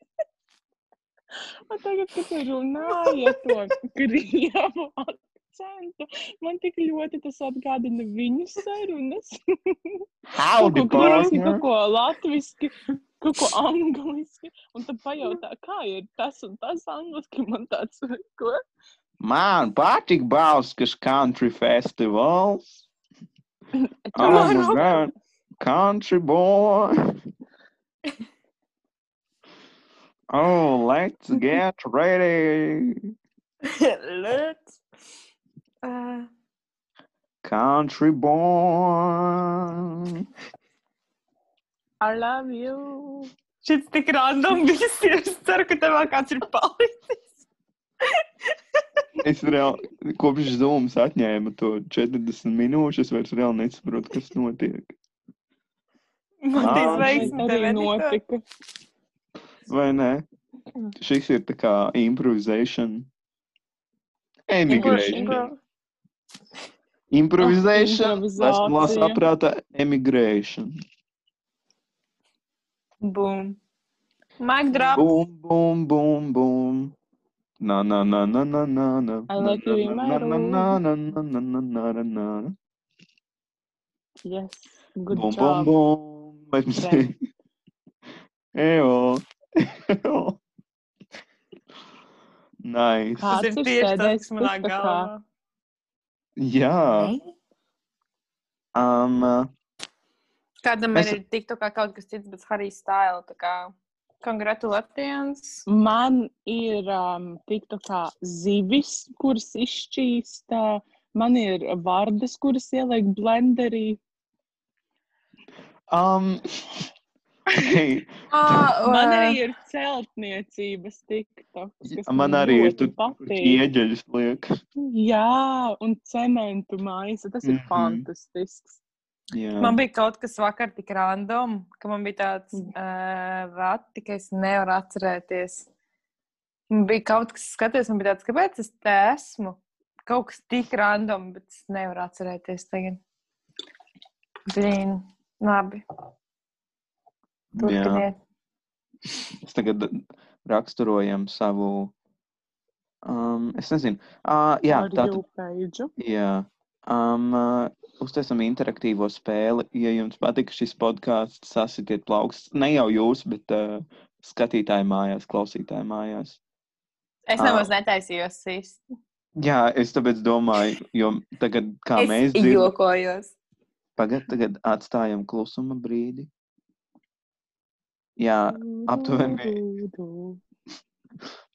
[SPEAKER 2] <laughs> un tagad, kad tu runāji ar to krievu akcentu, man tik ļoti tas atgādina viņu sarunas.
[SPEAKER 3] Howdy,
[SPEAKER 2] Kaut ko krieviski,
[SPEAKER 3] partner.
[SPEAKER 2] kaut ko latviski, kaut ko angliski. Un tad pajautā, kā ir tas un tas angliski. Man tāds, ko?
[SPEAKER 3] Man patīk Bauskas country festivals. Oh my
[SPEAKER 1] Marokā.
[SPEAKER 3] god. Country boy. Oh, let's get ready.
[SPEAKER 1] Let's. Uh,
[SPEAKER 3] Country boy.
[SPEAKER 2] I love you.
[SPEAKER 1] šis tik random viss ir. Es ceru, ka tev vēl kāds ir palicis.
[SPEAKER 3] Es reāli, kopš Zooms atņēma to 40 minūšu, es vairs reāli nesaprotu, kas notiek.
[SPEAKER 1] Matīs,
[SPEAKER 3] Ah.
[SPEAKER 1] veiksmi
[SPEAKER 2] Arī
[SPEAKER 1] tev editā.
[SPEAKER 2] notika.
[SPEAKER 3] Vai ne?
[SPEAKER 2] Mm.
[SPEAKER 3] Šis ir tā kā improvization. Emigration.
[SPEAKER 1] Impro-
[SPEAKER 3] Improvization. Tas
[SPEAKER 2] improvizācija.
[SPEAKER 3] mums saprāta emigration.
[SPEAKER 1] Boom. Mic drop.
[SPEAKER 3] Bum, bum, bum, bum. Na, na, na, na, na, na, na.
[SPEAKER 2] I like you in my
[SPEAKER 3] Na, na, na, na, na, na, na, na, na, na.
[SPEAKER 2] Yes. Good
[SPEAKER 3] Bum, bum,
[SPEAKER 2] job.
[SPEAKER 3] bum. Bet mums
[SPEAKER 2] Re.
[SPEAKER 3] Ejo. Ejo. Nice.
[SPEAKER 2] Kā?
[SPEAKER 1] Tas ir
[SPEAKER 2] Kāds ir
[SPEAKER 1] tieši tas,
[SPEAKER 2] sēdējis
[SPEAKER 1] kas manā
[SPEAKER 2] pustakā?
[SPEAKER 1] galvā.
[SPEAKER 3] Jā. Um, uh,
[SPEAKER 1] Kādam
[SPEAKER 3] Es-
[SPEAKER 1] es... ir tiktu kā kaut kas cits, bet Harry Style. tā kā Congratulations!
[SPEAKER 2] Man ir um, tiktu kā zivis, kuras izšķīst. Man ir vārdas, kuras ieliek blenderī.
[SPEAKER 1] <laughs>
[SPEAKER 3] um, <laughs> hei,
[SPEAKER 1] Ah,
[SPEAKER 2] Man
[SPEAKER 1] uh,
[SPEAKER 2] arī ir celtniecības tiktoks.
[SPEAKER 3] j-
[SPEAKER 2] kas
[SPEAKER 3] man arī ir
[SPEAKER 2] ļoti
[SPEAKER 3] tur kur
[SPEAKER 2] patīk.
[SPEAKER 3] ieģeļus liek.
[SPEAKER 2] Jā, un cementu maisa. Tas ir mm -hmm.
[SPEAKER 3] Mhm.
[SPEAKER 2] fantastisks.
[SPEAKER 3] Jā.
[SPEAKER 1] Man bija kaut kas vakar tik random, ka man bija tāds uh, rati, ka es nevaru atcerēties. Man bija kaut kas skaties, man bija tāds, kāpēc es te esmu? Kaut kas tik random, bet es nevaru atcerēties tagad. Blīn, labi,
[SPEAKER 3] Jā.
[SPEAKER 1] turpiniet.
[SPEAKER 3] Es tagad raksturojam savu. Um, es nezinu. Uh, jā,
[SPEAKER 2] Ar
[SPEAKER 3] tātad.
[SPEAKER 2] jūpēģu.
[SPEAKER 3] Jā, um, uh, uztaisam interaktīvo spēli. Ja jums patika šis podkāsts, sasitiet plaukstus. Ne jau jūs, bet uh, skatītāji mājās, klausītāji mājās.
[SPEAKER 1] Es
[SPEAKER 3] Ah.
[SPEAKER 1] nemaz netaisījos sist.
[SPEAKER 3] Jā, es tāpēc domāju, jo tagad, kā
[SPEAKER 1] Es
[SPEAKER 3] mēs dzirdam,
[SPEAKER 1] jokojos.
[SPEAKER 3] pagad, tagad atstājam klusuma brīdi. Jā, aptuveni.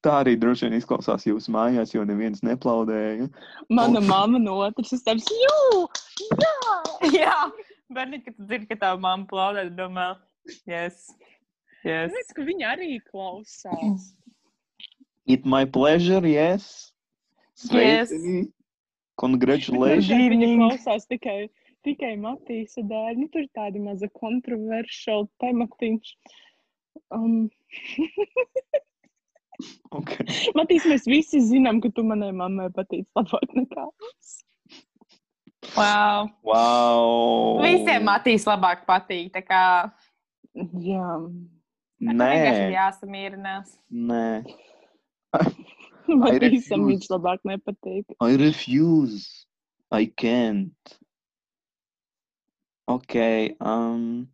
[SPEAKER 3] tā arī droši vien izklausās jūsu mājās, jo neviens neplaudēja.
[SPEAKER 2] Mana mamma no otras puses - jū!
[SPEAKER 1] <laughs> Jā, bērni, kad tu dzirdi, ka tā mamma plaudē, tad domā, yes, yes.
[SPEAKER 2] Es, ka viņa arī klausās.
[SPEAKER 3] It my pleasure, yes.
[SPEAKER 1] Yes.
[SPEAKER 3] Sveicini.
[SPEAKER 2] Varbūt
[SPEAKER 3] Congratulations.
[SPEAKER 1] <laughs>
[SPEAKER 2] Viņa
[SPEAKER 1] Evening.
[SPEAKER 2] klausās tikai, tikai Matīsa dēļ. Nu, tur ir tāda maza kontroversiāla tematiņš. Um,
[SPEAKER 3] Okay.
[SPEAKER 2] Matīs, mēs visi zinām, ka tu manai mammai patīc labāk nekā.
[SPEAKER 1] Wow.
[SPEAKER 3] Wow.
[SPEAKER 1] Visiem Matīs labāk patīk. Tā kā
[SPEAKER 2] Jā,
[SPEAKER 1] vienkārši ir
[SPEAKER 3] Nē,
[SPEAKER 1] jāsamierinās.
[SPEAKER 3] nē.
[SPEAKER 2] Matīsam
[SPEAKER 3] refuse.
[SPEAKER 2] viņš labāk nepatīk.
[SPEAKER 3] I refuse. I can't. Okay. Um.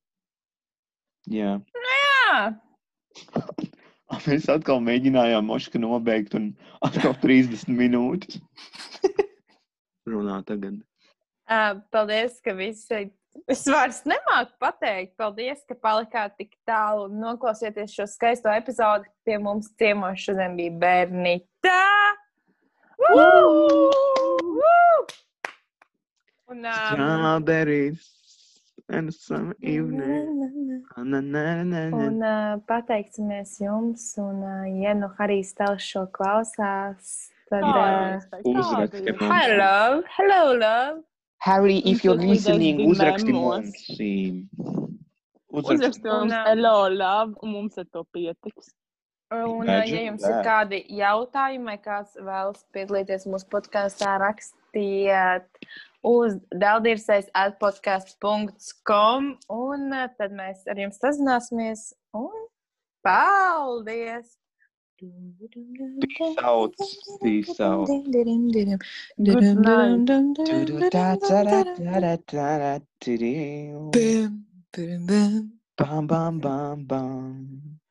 [SPEAKER 3] Jā.
[SPEAKER 1] Jā,
[SPEAKER 3] Mēs atkal mēģinājām mošku nobeigt un atkal 30 minūtes. Runā tagad.
[SPEAKER 1] Ā, paldies, ka visi. Es vairs nemāku pateikt, paldies, ka palikāt tik tālu un noklausieties šo skaisto epizodi. Pie mums ciemos šodien bija bērnītā. Un, um,
[SPEAKER 3] Strawberries and some evening. Na, na, na, na,
[SPEAKER 1] un
[SPEAKER 3] na.
[SPEAKER 1] uh, pateiksimies jums, un, uh, ja nu arī Stels šo klausās, tad. Uh,
[SPEAKER 3] Uzraksti, ka mums-
[SPEAKER 1] hello, hello, love!
[SPEAKER 3] Harry,
[SPEAKER 2] if you're Uzraksti tas listening, bija uzraksti
[SPEAKER 3] uzraksti
[SPEAKER 2] memos.
[SPEAKER 3] mums.
[SPEAKER 2] mums.
[SPEAKER 3] Uzraksti.
[SPEAKER 2] Uzrakst mums,
[SPEAKER 1] Un, ā,
[SPEAKER 2] hello, love, un mums ar to pietiks.
[SPEAKER 1] Un,
[SPEAKER 3] Imagine
[SPEAKER 1] ā, ja jums ir
[SPEAKER 3] that.
[SPEAKER 1] kādi jautājumi, vai kāds vēlas piedalīties mūsu podkāstā, rakstiet uz dēldīrsais atpodkāst.com. Un ā, tad mēs ar jums sazināsimies. Un paldies!
[SPEAKER 3] Sauts, sauts.
[SPEAKER 1] Good night!
[SPEAKER 3] Bam, bam, bam, bam.